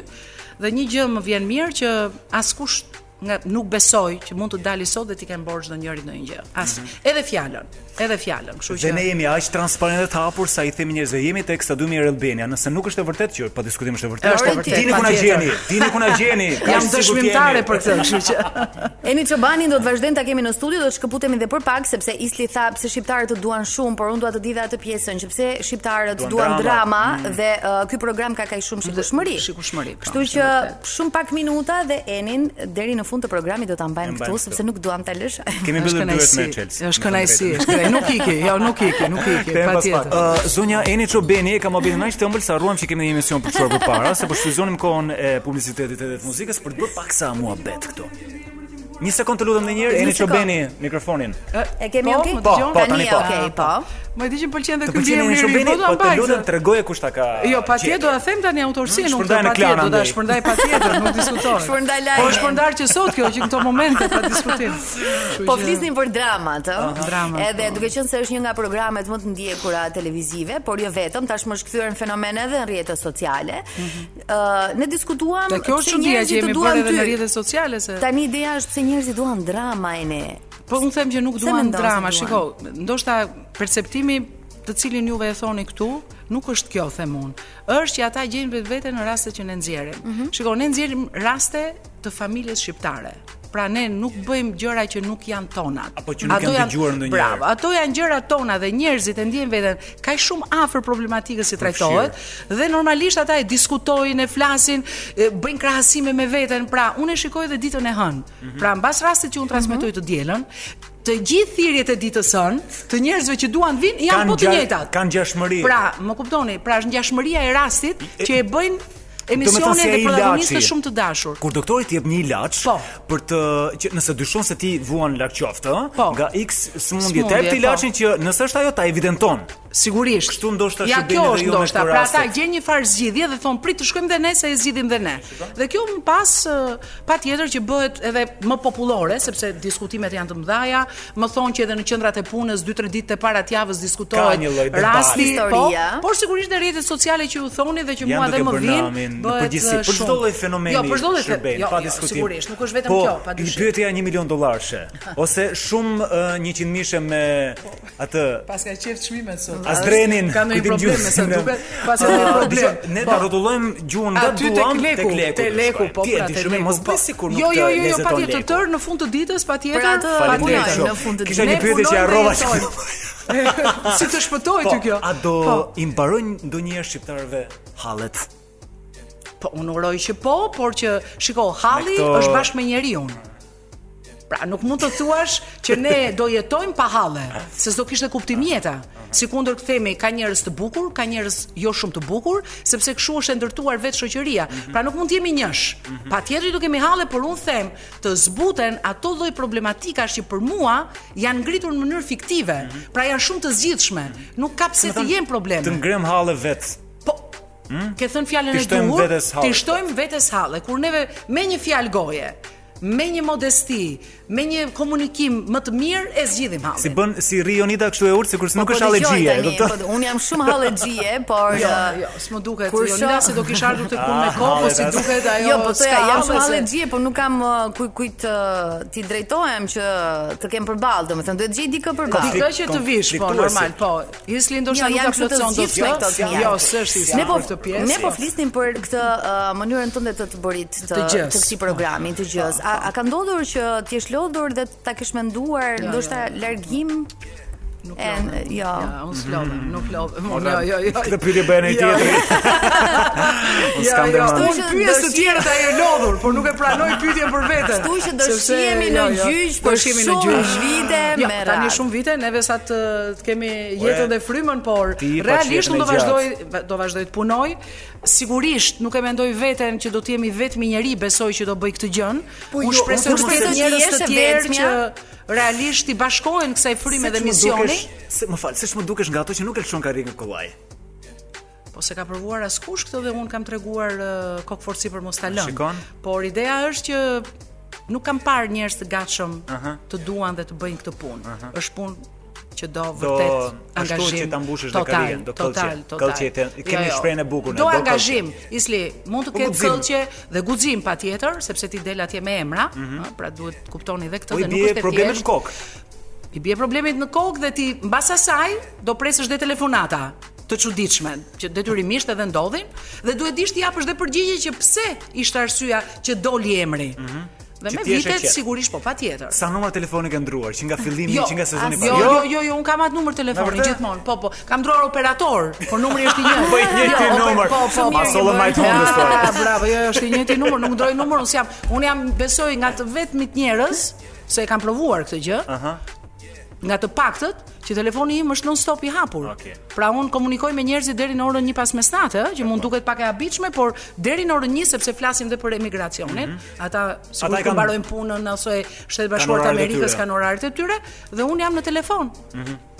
S14: dhe një gjë më vjen mirë që askush nga nuk besoj që mund të dali sot dhe ti kem borxh çdo njëri ndonjë gjë. As edhe fjalën, edhe fjalën, kështu që
S9: Mhm. Dhe ne jemi aq transparentë të hapur sa i themi njerëzve, jemi tek stadiumi Air Albania, nëse nuk është e vërtetë që po diskutimi është e vërtetë.
S14: Është e vërtetë,
S9: Dini ku na
S14: patjetër.
S9: gjeni, dini ku na gjeni. ka
S14: Jam
S9: sigur
S14: dëshmitare
S9: t'jeni.
S14: për këtë, kështu që
S8: Eni Çobani do të vazhdojmë ta kemi në studio, do të shkëputemi edhe për pak sepse Isli tha pse shqiptarët të duan shumë, por unë dua të di dhe atë pjesën që pse shqiptarët
S14: Duan
S8: duan drama
S14: drama,
S8: dhe uh, ky program ka kaq shumë shikueshmëri.
S14: Shikueshmëri. po,
S8: Kështu
S14: është
S8: që
S14: vërtet.
S8: shumë pak minuta dhe Enin deri në fund të programit do ta mbajmë
S14: E mbajmë
S8: këtu
S14: këtu.
S8: sepse nuk duam ta lësh.
S9: Kemi mbyllur
S14: Është
S9: duhet me
S14: kënaqësi,
S9: Chelsea.
S14: Është kënaqësi, është kënaqësi. Nuk iki, jo, nuk iki, nuk iki,
S9: Kthehem pas pak.
S14: patjetër.
S9: Ë, zonja Eni Çobeni e ka mobilin aq të ëmbël sa ruam që kemi një emision për të çuar përpara, se po shfryzonim kohën e publicitetit edhe të muzikës për të bërë pak sa muhabet këtu. Një sekond të lutem ndonjëherë,
S14: Një
S9: Eni
S14: sekond.
S9: Çobeni, mikrofonin.
S8: E kemi
S14: Po,
S8: okay?
S14: më dëgjon?
S9: Po, po, tani po.
S8: okay, po.
S14: Më di që më pëlqen dhe
S9: Të
S14: ky
S9: pëlqen Eni
S14: lirë,
S9: Çobeni,
S14: po
S9: po
S14: do
S9: të
S14: ta
S9: lutem tregoje kush ta ka.
S14: Jo, patje
S9: gjetur.
S14: do ta them tani autorsinë, unë
S9: shpërndaj
S14: këtë
S9: në
S14: patje
S9: Klara
S14: do ta
S9: Andrej.
S14: shpërndaj patjetër, nuk diskutoj.
S8: Shpërndaj
S14: Po
S8: lajmin.
S14: është shpërndar që sot kjo që këto momente pa diskutim.
S8: Po flisnim për dramat, ë?
S14: Aha. Dramat, po.
S8: Edhe duke qenë se është një nga programet më të ndjekura televizive, por jo vetëm, tashmë është kthyer në fenomen edhe në rrjetet sociale. Ë, ne diskutuam
S14: Mhm. Dhe kjo është
S8: pse
S14: çudia që
S8: njerëzit të
S14: jemi
S8: duan
S14: bërë edhe
S8: ty.
S14: në rrjetet sociale se
S8: Tani ideja është pse njerëzit duan drama e ne.
S14: Po unë them që nuk
S8: Pse
S14: duan
S8: mendon se
S14: drama,
S8: duan?
S14: shiko, ndoshta perceptimi të cilin juve e thoni këtu, nuk është kjo them unë. Është që ata gjejnë vetvete në raste që ne nxjerrim.
S8: Mhm.
S14: Shiko, ne nxjerrim raste të familjes shqiptare. Pra ne nuk bëjmë gjëra që nuk janë tona.
S9: Apo që nuk janë dëgjuar ndonjëherë.
S14: Bravo, ato janë gjërat tona dhe njerëzit e ndjejnë veten kaq shumë afër problematikës që trajtohet dhe normalisht ata e diskutojnë, e flasin, e, bëjnë krahasime me veten. Pra, unë e shikoj edhe ditën e hënë.
S9: Mhm.
S14: Pra, mbas rastit që unë transmetoj të dielën, të gjithë thirrjet e ditës hënë, të njerëzve që duan të vinë janë po të
S9: gja-
S14: njëjtat.
S9: Kanë gjashmëri.
S14: Pra, më kuptoni, pra është ngjashmëria e rastit që e bëjnë
S9: Do me thënë
S14: emisionin
S9: se
S14: dhe
S9: ai
S14: protagonistët
S9: ilaçi.
S14: shumë të dashur.
S9: Kur doktori të jep një ilaç
S14: Po.
S9: për të që nëse dyshon se ti vuan larg qoftë, ë, nga X smundje,
S14: Po. Smundje, po.
S9: të jep të ilaçin që nëse është ajo ta evidenton.
S14: Sigurisht.
S9: Kështu ndoshta
S14: Ja
S9: shërbejnë
S14: kjo
S9: edhe
S14: është
S9: jo me
S14: ndoshta,
S9: këto
S14: pra
S9: raste.
S14: ata gjen një farë zgjidhje dhe thon prit të shkojmë dhe ne se e zgjidhim dhe ne. Dhe kjo më pas ë, patjetër që bëhet edhe më popullore sepse diskutimet janë të mëdha, më thonë që edhe në qendrat e punës 2-3 ditë të para të javës
S9: Ka një lloj
S14: diskutohet
S9: debati.
S14: rasti, po,
S8: Historia.
S14: por sigurisht në rrjetet sociale që ju thoni dhe që
S9: Janë
S14: mua dhe
S9: duke
S14: më
S9: bërë
S14: vjen
S9: namin në
S14: bëhet ë,
S9: përgjithësi. Për
S14: shumë.
S9: çdo lloj fenomeni
S14: Jo, për çdo lloj
S9: shërben,
S14: fenomeni,
S9: pa diskutim.
S14: Sigurisht, nuk është vetëm
S9: po,
S14: kjo, pa
S9: i
S14: dyshim.
S9: pyetja 1 milion dollarshe ose shumë uh, 100 mishe me atë
S14: Pas ka qef çmimet sot.
S9: Asdrenin,
S14: Po. ka ndonjë
S9: kujtim
S14: problem
S9: gjuhës,
S14: me sa
S9: ne-
S14: duket, pas ka ndonjë
S9: Ah,
S14: problem.
S9: disa- Ne
S14: Po.
S9: ta rrotullojmë gjuhën nga
S14: Aty tek
S9: duam
S14: leku,
S9: tek leku.
S14: tek leku, po,
S9: Ti e
S14: pra,
S9: di
S14: tek
S9: shumë,
S14: leku,
S9: mos
S14: po.
S9: bëj sikur nuk
S14: Jo, jo,
S9: të
S14: jo, jo,
S9: lezeton
S14: patjetër
S9: leku.
S14: tër në fund të ditës patjetër.
S8: Pra atë
S9: Faleminderit
S8: punojnë
S9: shumë.
S8: në fund të
S9: Kisha
S8: ditës.
S9: një
S8: Ne
S9: pyetje që
S8: punojmë dhe
S9: harrova
S8: jetojmë.
S9: që
S14: Si të shpëtohet ty kjo?
S9: Po, a do
S14: Po.
S9: i mbarojnë ndonjëherë shqiptarëve hallet?
S14: Po unë uroj që po, por që shiko, halli
S9: Me këto-
S14: është bashkë me njeriu. Pra nuk mund të thuash që ne do jetojmë pa halle, se s'do kishte kuptim jeta. Sikundër kthemi ka njerëz të bukur, ka njerëz jo shumë të bukur, sepse kështu është e ndërtuar vetë shoqëria. Pra nuk mund të jemi njësh. Patjetër do kemi halle, por un them, të zbuten ato lloj problematikash që për mua janë ngritur në mënyrë fiktive. Pra janë shumë të zgjidhshme. Nuk ka pse të jenë probleme.
S9: Të ngrem halle vet.
S14: Po, Ke thënë fjalën
S9: Ti
S14: e
S9: shtojmë
S14: duhur,
S9: vetes halle.
S14: ti shtojmë vetes halle. Kur neve me një fjalë goje, me një modesti, me një komunikim më të mirë e zgjidhim hallin.
S9: Si bën si ri Jonida kështu e urtë
S14: Po,
S9: sikur se
S8: Po
S9: nuk është hallegjie, e kupton?
S8: Unë jam shumë hallegjie, por
S14: Jo,
S8: ë,
S14: jo, s'më duket
S8: kur
S14: Jonida
S8: shoh-
S14: se do kish ardhur të punë me kohë,
S9: Ah,
S14: si
S9: hallet,
S14: duket ajo.
S8: Jo, po
S14: s'ka
S8: të jam shumë
S14: halle, se-
S8: allergjie, por nuk kam ë, kuj kujt ë, ti drejtohem që të kem përballë, domethënë duhet gjej dikë përballë.
S14: Dikë që të vish, po normal, po. Isli ndoshta
S8: Jo,
S14: nuk ta
S8: janë kështu të
S14: plotson dot
S8: zgjithshme
S14: gjë.
S8: këto fjalë.
S14: Jo, s'është isli.
S8: Ne po
S14: për këtë pjesë. jo.
S8: Ne po flisnim për këtë ë, mënyrën tënde të të bërit të
S14: Të
S8: të
S14: gjës.
S8: këtij programi, të gjës. A, a ka ndodhur që ti je lodhur dhe ta kesh menduar
S14: Jo,
S8: ndoshta largim? Nuk jo.
S14: Ja, Ah, unë s'lodhem, nuk lodhem. Unë,
S9: Ora,
S14: Jo, jo, jo.
S9: Këtë pyetje bëhen ai
S14: Jo.
S9: tjetri. Unë
S14: Ja,
S9: Po, s'kam
S14: ja,
S9: demandë.
S14: unë pyes të tjerët ai e lodhur, por nuk e pranoj pyetjen për veten.
S8: Kështu që do
S14: Sepse,
S8: shihemi në
S14: jo, jo,
S8: gjyq
S14: do
S8: për
S14: shihemi në
S8: shumë
S14: gjyq.
S8: vite
S14: Jo,
S8: me
S14: Tani
S8: radhë.
S14: shumë vite, neve sa të të kemi
S9: Ue,
S14: jetën dhe frymën, por
S9: ti po, i pa
S14: realisht
S9: qetën
S14: unë
S9: e
S14: do vazhdoj do vazhdoj të punoj. Sigurisht nuk e mendoj veten që do të jemi vetmi njeri, besoj që do bëj këtë gjën.
S8: Po
S14: Unë
S8: jo,
S14: shpresoj
S8: unë
S14: të
S8: shpresoj
S14: ketë
S8: që
S14: njerëz
S8: jesh
S14: të
S8: e
S14: tjerë
S8: vetmja.
S14: që realisht i bashkohen kësaj fryme
S9: Se
S14: dhe
S9: që më
S14: misioni.
S9: dukesh- Se më fal, se ç'më dukesh nga ato që nuk e lëshon karrikën kollaj.
S14: Po se ka provuar askush këtë dhe un kam treguar uh, kokforci për mos ta lënë.
S9: Shikon?
S14: Por ideja është që nuk kam parë njerëz të gatshëm
S9: Aha.
S14: të duan dhe të bëjnë këtë punë.
S9: Aha.
S14: Është punë që do
S9: Do
S14: vërtet
S9: ashtu
S14: angazhim.
S9: që ta mbushësh dhe
S14: total,
S9: karrierën, do
S14: total,
S9: këllqje.
S14: total.
S9: Këllqje, te- kemi shprehjen e bukur ne,
S14: Do
S9: do këllqje.
S14: angazhim, Isli, mund të
S9: Po
S14: ketë
S9: guxim.
S14: këllqje dhe guxim patjetër, sepse ti del atje me emra, ëh, pra duhet të kuptoni edhe këtë
S9: Mhm. Po i
S14: dhe nuk
S9: bie
S14: është e
S9: problemet në
S14: thjeshtë.
S9: kokë.
S14: I bie problemit në kokë dhe ti mbas asaj do presësh dhe telefonata të çuditshme që detyrimisht edhe ndodhin dhe duhet dish të japësh dhe përgjigje që pse ishte arsyeja që doli emri. Dhe
S9: Mhm. Që
S14: me
S9: ti je
S14: vitet
S9: sheqer.
S14: sigurisht po patjetër.
S9: Sa numra telefoni ke ndruar që nga fillimi, që nga sezoni
S14: as- jo, jo, jo, jo, un kam atë numër telefoni
S9: vërtet?
S14: gjithmonë. Po, po, kam ndruar operator, por numri është i njëjtë.
S9: Po i njëjti
S14: Jo, oper-
S9: numër.
S14: Po, po,
S9: Ma
S14: mirë,
S9: solo
S14: i
S9: majt
S14: bën.
S9: hundës, po.
S14: Ah, Bravo, jo, jo, është i njëjti numër, nuk ndroj numër, unë jam, unë jam besoj nga të vetmit njerëz se e kam provuar këtë gjë.
S9: Aha.
S14: Nga të paktët që telefoni im është non-stop i hapur.
S9: Okej.
S14: Pra un komunikoj me njerëzit deri në orën 1 pas mesnatë, ë, që mund duket pak e habitshme, por deri në orën 1 sepse flasim dhe për emigracionin. Ata
S9: Mhm. Ata e
S14: sigurisht
S9: kanë-
S14: kanë mbarojnë punën ose Shtetet Bashkuara të
S9: oraret e
S14: Amerikës
S9: tyre. Mhm.
S14: kanë orarët e tyre dhe un jam në telefon.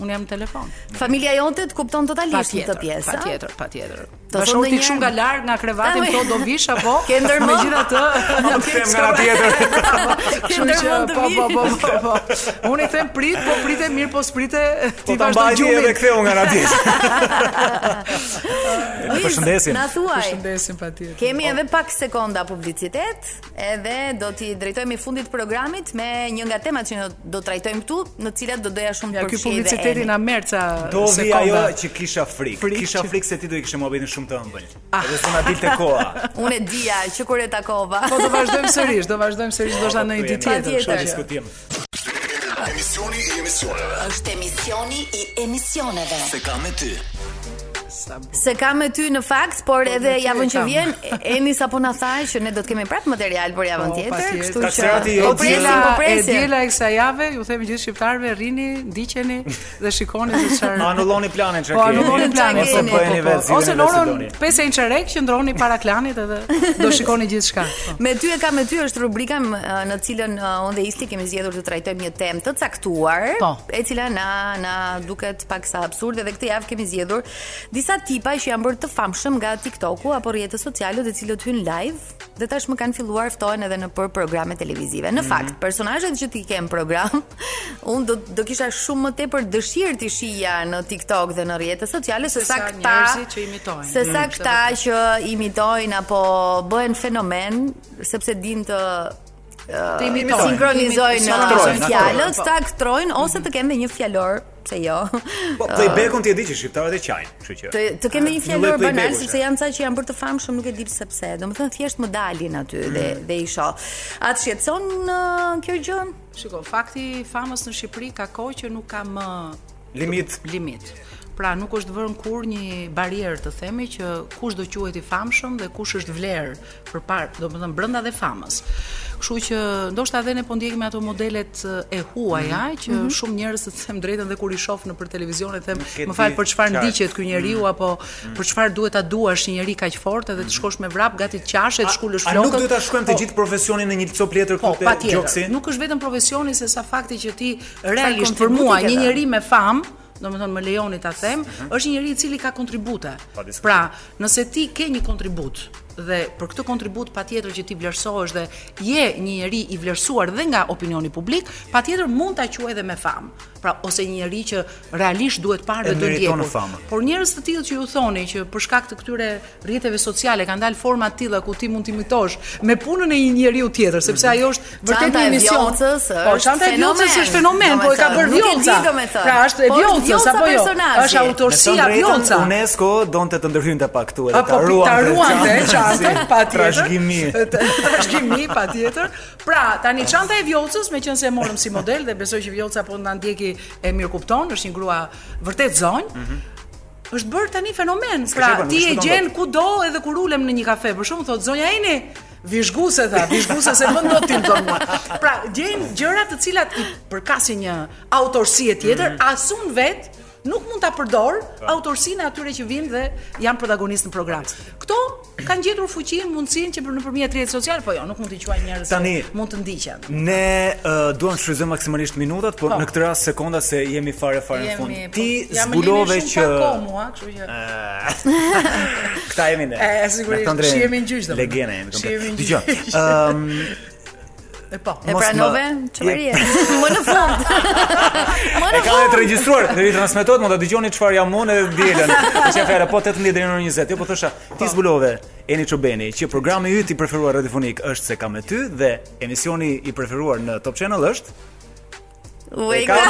S14: Un jam në telefon.
S8: Familja jote të kupton totalisht
S14: Patjetër,
S8: këtë pjesë.
S14: patjetër, patjetër.
S8: Të
S14: Të
S8: thonë
S14: shoh ti
S8: ndonjëherë-
S14: shumë nga larg nga krevatin
S8: Ah,
S14: këto do vish apo?
S8: Ke ndërmend?
S14: Megjithatë, po,
S9: Nuk
S14: ok,
S9: them nga
S14: s'ka-
S9: ana tjetër.
S8: Ke
S14: Kështu që
S8: ndërmend të
S14: po
S8: vi?
S14: po po po. po. Unë i them prit, po pritet mirë, po sprite ti
S9: Po ta
S14: vazhdo
S9: mbaj ti
S14: gjumit.
S9: edhe ktheu nga ana tjetër. Ne përshëndesim.
S8: Na thuaj.
S14: Përshëndesim patjetër.
S8: Kemi edhe pak sekonda publicitet, edhe do t'i drejtojmë i fundit programit me një nga temat që në- do trajtojmë këtu, në cilat do doja shumë
S14: Ja
S8: të
S14: ky
S8: përfshijë.
S14: publiciteti na merr ca
S9: Do vi
S14: sekonda.
S9: ajo që kisha frikë.
S14: Frikë
S9: Kisha
S14: që- Ah.
S9: frikë se ti do i kishe mohabetin shumë të ëmbël. Edhe s'u na dilte koha.
S8: Unë e dija që kur e takova.
S14: Po do vazhdojmë sërish, do vazhdojmë sërish, do shta në një ditë tjetër.
S8: Patjetër.
S14: kështu që-
S9: Diskutim.
S6: Emisioni i emisioneve
S7: Është emisioni i emisioneve.
S6: Se kam me ty
S8: Se kam me ty në fakt, por edhe
S7: ty e
S8: javën që
S7: kam.
S8: vjen, Eni sapo na tha që ne do të kemi prapë material për javën tjetër,
S14: patjetër.
S8: kështu që
S9: Kastrati
S6: jo
S8: po
S9: e
S8: presim, po
S14: e
S8: presim.
S14: diela e kësaj jave, ju themi gjithë shqiptarëve, rrini, ndiqeni dhe shikoni se çfarë.
S9: Anulloni planin çka
S14: Po anulloni planin.
S9: Ose bëheni vetë. si
S14: Ose
S9: jeni
S14: në
S9: vetë si
S14: orën
S9: doni.
S14: 5 e një çerek qëndroni para klanit edhe do shikoni gjithçka. Po.
S8: Me ty e kam me ty është rubrika m- në cilën uh, unë dhe Isli kemi zgjedhur të trajtojmë një temë të caktuar, e cila na na duket paksa absurde dhe këtë javë kemi zgjedhur disa tipa që janë bërë të famshëm nga TikToku apo rrjetet sociale të cilët hyn live dhe tashmë kanë filluar ftohen edhe në për programe televizive. Në fakt, personazhet që ti ke në program, unë do do kisha shumë më tepër dëshirë të shija në TikTok dhe në rrjetet sociale se sa këta
S14: njerëzit që imitojnë.
S8: Se sa
S14: Mm.
S8: këta që imitojnë apo bëhen fenomen sepse din të
S14: Të
S8: eh,
S14: imitojnë.
S8: sinkronizojnë
S14: Të
S9: imitojnë,
S8: eh, fjalët,
S9: aktorojnë, po.
S8: ta aktrojnë ose të kenë dhe një fjalor, pse jo.
S9: Po
S14: Ah.
S9: playbackun ti e di që shqiptarët e qajnë, kështu që.
S8: Të, të kenë dhe
S9: Një
S8: një
S9: lloj
S8: fjalor banal
S9: playbacku
S8: sepse janë ca që janë bërë të famshëm, nuk e di pse pse. Domethënë thjesht më dalin aty dhe dhe i shoh. Atë shqetëson eh, kjo gjë?
S14: Shiko, fakti i famës në Shqipëri ka kohë që nuk ka më
S9: Limit.
S14: limit. Pra nuk është vënë kur një barierë të themi që kush do quhet i famshëm dhe kush është vlerë për par, domethënë brenda dhe famës. Kështu që ndoshta edhe ne po ndjekim ato modelet eh, e huaja që
S18: Mhm.
S14: shumë njerëz të them drejtën dhe kur i shoh nëpër televizion e them,
S18: e
S14: më fal
S18: di
S14: për çfarë
S18: qartë."
S14: ndiqet ky njeriu
S18: Mhm.
S14: apo për çfarë duhet ta duash një njerëz kaq fort edhe të shkosh me vrap gati të qashe, të shkulësh
S9: Mhm. A
S14: flokët.
S9: nuk duhet ta shkruajmë të
S14: Po,
S9: gjithë profesionin në një copë letër
S14: Po,
S9: këtu te Gjoksi?
S14: patjetër. Nuk është vetëm profesioni se sa fakti që ti realisht për
S9: kontributi
S14: mua
S9: ke
S14: një
S9: dhënë.
S14: njerëz me famë, domethënë më lejoni ta them, është një njerëz i cili ka kontribute.
S9: Mhm. Pa diskutim.
S14: Pra, nëse ti ke një kontribut dhe për këtë kontribut patjetër që ti vlerësohesh dhe je një njerëz i vlerësuar dhe nga opinioni publik, patjetër mund ta quaj edhe me famë. Pra, ose një njerëz që realisht duhet parë
S9: E
S14: dhe duhet
S9: meriton
S14: ndjekur.
S9: famën.
S14: Por njerëz të tillë që ju thoni që për shkak të këtyre rrjeteve sociale kanë dalë forma të tilla ku ti mund t'imitosh me punën e një njeriu tjetër, sepse ajo është vërtet
S8: Çanta
S14: një
S8: e
S14: emision.
S8: vjollcës
S14: Po,
S8: është
S14: çanta e vjollcës
S8: fenomen,
S14: është fenomen, po e ka
S8: domethënë.
S14: bërë
S8: Nuk e di,
S14: vjollca.
S8: domethënë.
S14: Pra, është e
S8: Po, është
S14: vjollcës
S8: vjollca
S14: apo jo?
S8: personazhi.
S14: Është
S9: Me
S14: autorsia
S9: të drejtën,
S14: vjollca.
S9: UNESCO donte të ndërhynte pa këtu edhe
S14: A, po, ta ruante çantën, patjetër.
S9: Trashëgimi.
S14: Trashëgimi patjetër. Pra, tani çanta e Vjollcës, meqense e morëm si model dhe besoj që Vjollca po na ndjeki e mirë kupton, është një grua vërtet zonjë, është bërë tani fenomen.
S9: S'ke
S14: Pra,
S9: qenë,
S14: ti
S9: nuk
S14: e
S9: shkëton
S14: gjen kudo edhe kur ulem në një kafe. Për shembull, thotë zonja Eni, vizhguse tha, vizhguse se më ndot ti më thonë mua. Pra, gjen gjëra të cilat i përkasin një autorsi e tjetër,
S9: Mhm.
S14: asun vet nuk mund ta përdor
S9: Po.
S14: autorsinë e atyre që vinë dhe janë protagonistë në program. Këto kanë gjetur fuqinë, mundësinë që për- nëpërmjet rrjetit social, po jo, nuk mund t'i quaj njerëz që
S9: Tani-
S14: mund të ndiqen.
S9: Ne uh, duam të shfrytëzojmë maksimalisht minutat, por
S14: Po.
S9: në këtë rast sekonda se jemi fare fare në fund.
S14: Jemi- po,
S9: Ti
S14: jam lini
S9: zbulove
S14: shumë
S9: që
S14: pa kohë mua, kështu që
S9: Këta jemi ne.
S14: E, sigurisht,
S9: Me këta ndrejnë.
S14: shi jemi në gjyq, domethënë.
S9: Legjena jemi. Ehm,
S14: Shi jemi në
S9: komplet. Dgjoj.
S14: gjyq.
S9: Ëm
S14: E po.
S8: E
S9: mos
S8: pranove
S9: më-
S8: çeverie. Më në fund. Më
S9: E
S8: në
S9: ka
S8: fund.
S9: të regjistruar, do i transmetohet, mund ta dëgjoni çfarë jam unë edhe dielën. Është fjala po 18 deri në orën 20. Jo, po thosha, ti zbulove Eni Çobeni që programi yt i preferuar radiofonik është se kam me ty dhe emisioni i preferuar në Top Channel është
S8: Wake
S9: up.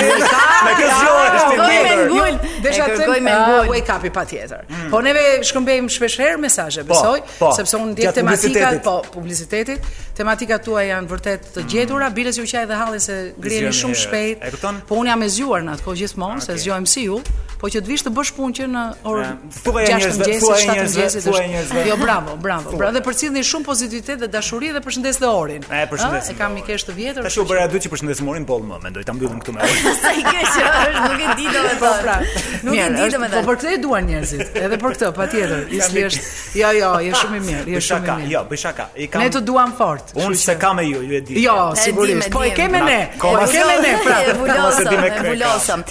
S9: Me këtë zgjohë është
S14: Kërkoj
S9: tjetër.
S14: me ngul.
S9: Jo,
S14: Desha
S9: e
S14: të
S9: kërkoj
S14: them
S9: me
S14: ah,
S9: ngul. Mm.
S14: wake up i patjetër. Po neve shkëmbejmë shpeshherë mesazhe, besoj,
S9: po,
S14: sepse unë ndjek
S9: gjatë
S14: tematikat,
S9: publicitetit.
S14: po, publicitetit. Tematikat tuaja janë vërtet të gjetura, bile që u qaj dhe halli se griheni
S9: Zgjoni
S14: shumë
S9: herët.
S14: shpejt.
S9: E kupton?
S14: Po unë jam e zgjuar në atë kohë gjithmonë, se zgjohem si ju, po që të vish të bësh punë që në orën
S9: Ja.
S14: 6
S9: Thuaj e
S14: të
S9: njerëzve,
S14: mëngjesit,
S9: thuaj e
S14: 7 të
S9: njerëzve,
S14: mëngjesit.
S9: thuaj e
S14: është-
S9: njerëzve.
S14: Jo, bravo, bravo.
S9: Thuaj.
S14: Pra dhe përcjellni shumë pozitivitet dhe dashuri dhe përshëndes dhe orin.
S9: E, përshëndes
S14: Ë, Ah, E kam i kesh të vjetër.
S9: Tash u bëra dy që përshëndesim Morin Boll më, mendoj ta mbyllim këtu me orë.
S8: Sa i keq është, nuk e di
S14: Po
S8: domethënë.
S14: pra,
S8: Nuk e
S14: mirë,
S8: di
S14: është-
S8: domethënë.
S14: Po për këtë e duan njerëzit, edhe për këtë, patjetër. Isli është, jo, jo, je shumë i mirë, je shumë
S9: Bëj
S14: i
S9: shaka,
S14: mirë.
S9: Jo, bëj shaka. I kam
S14: Ne të duam fort.
S9: Unë se kam me ju, ju e di.
S14: Jo, sigurisht. Po e keme ne.
S9: Na,
S14: Po
S9: koma
S14: e
S9: se-
S14: keme ne, pra. Po.
S8: E
S9: Ose di
S8: vulosëm,
S9: me
S8: e
S9: kreka.
S8: vulosëm.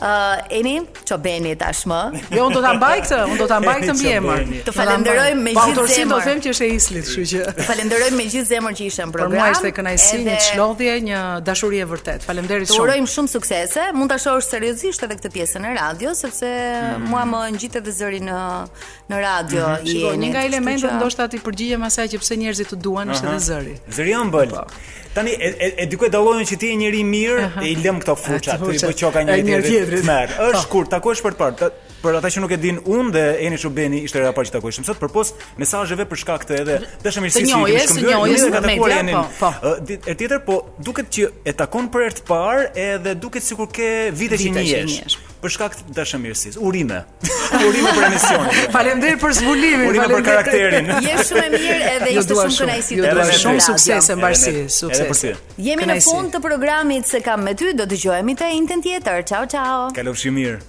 S8: Ë Eni Çobeni tashmë.
S14: Jo, unë do ta mbaj këtë, unë do ta mbaj këtë mbi emër.
S8: Të falenderoj me
S14: Pa
S8: gjithë
S14: autorsin do
S8: zemër.
S14: them që është e Islit, kështu që.
S8: Të falenderoj me gjithë zemër që ishe në
S14: Për
S8: program.
S14: mua ishte kënaqësi, një
S8: edhe
S14: çlodhje, një dashuri e vërtet. Faleminderit
S8: Të
S14: shumë.
S8: urojmë shumë suksese. Mund ta shohësh seriozisht edhe këtë pjesën e radio sepse
S14: Mm.
S8: mua më ngjit edhe zëri në në radio i
S14: Shikoj,
S8: jeni.
S14: një Mhm. nga
S8: kështu
S14: elementet
S8: që-
S14: ndoshta ti përgjigjem asaj që pse njerëzit të duan është edhe
S9: Aha.
S14: zëri.
S9: Zëri ëmbël. Tani e, e, e diku e dallojnë që ti je njëri i mirë
S14: Po. Aha.
S9: e i lëm këto fuça,
S14: Ato
S9: ti
S14: fuça.
S9: bëj çoka
S14: E,
S9: njëri
S14: njëri
S9: tjetrit.
S14: tjetrit.
S9: Merr.
S14: Po.
S9: Është kur takohesh për të parë. Ta- Për ata që nuk e dinë, unë dhe Eni Shubeni ishte era e parë që takoheshim sot përpos mesazheve për shkak të edhe
S14: Të
S9: dashamirësisë që i kemi
S14: njohjes,
S9: shkëmbyer,
S14: të njohjes
S9: ju edhe ka
S14: në
S9: takuar
S14: media,
S9: Enin.
S14: po, po.
S9: Ë, dit- E tjetër po duket që e takon për herë të parë edhe duket sikur ke
S14: Vite
S9: vite që
S14: që
S9: njihesh.
S14: njihesh.
S9: Për shkak të dashamirësisë. Urime. Urime për emisionin.
S14: Faleminderit për zbulimin,
S9: Urime për
S14: faleminderit.
S9: karakterin.
S8: Je shumë e mirë edhe
S14: Ju Jo
S8: ishte
S14: dua
S8: shumë
S14: shumë,
S8: kënaqësi
S14: ju
S8: të
S14: dua
S8: bësh
S14: shumë
S8: radio.
S14: suksese
S9: Edhe
S14: mbarësi,
S9: ne- edhe
S14: sukses.
S9: për ty.
S8: Jemi në
S9: Kënaqësi.
S8: fund të programit se kam me ty, do të dëgjohemi të njëjtën tjetër. Ciao ciao.
S9: Kalofshi mirë.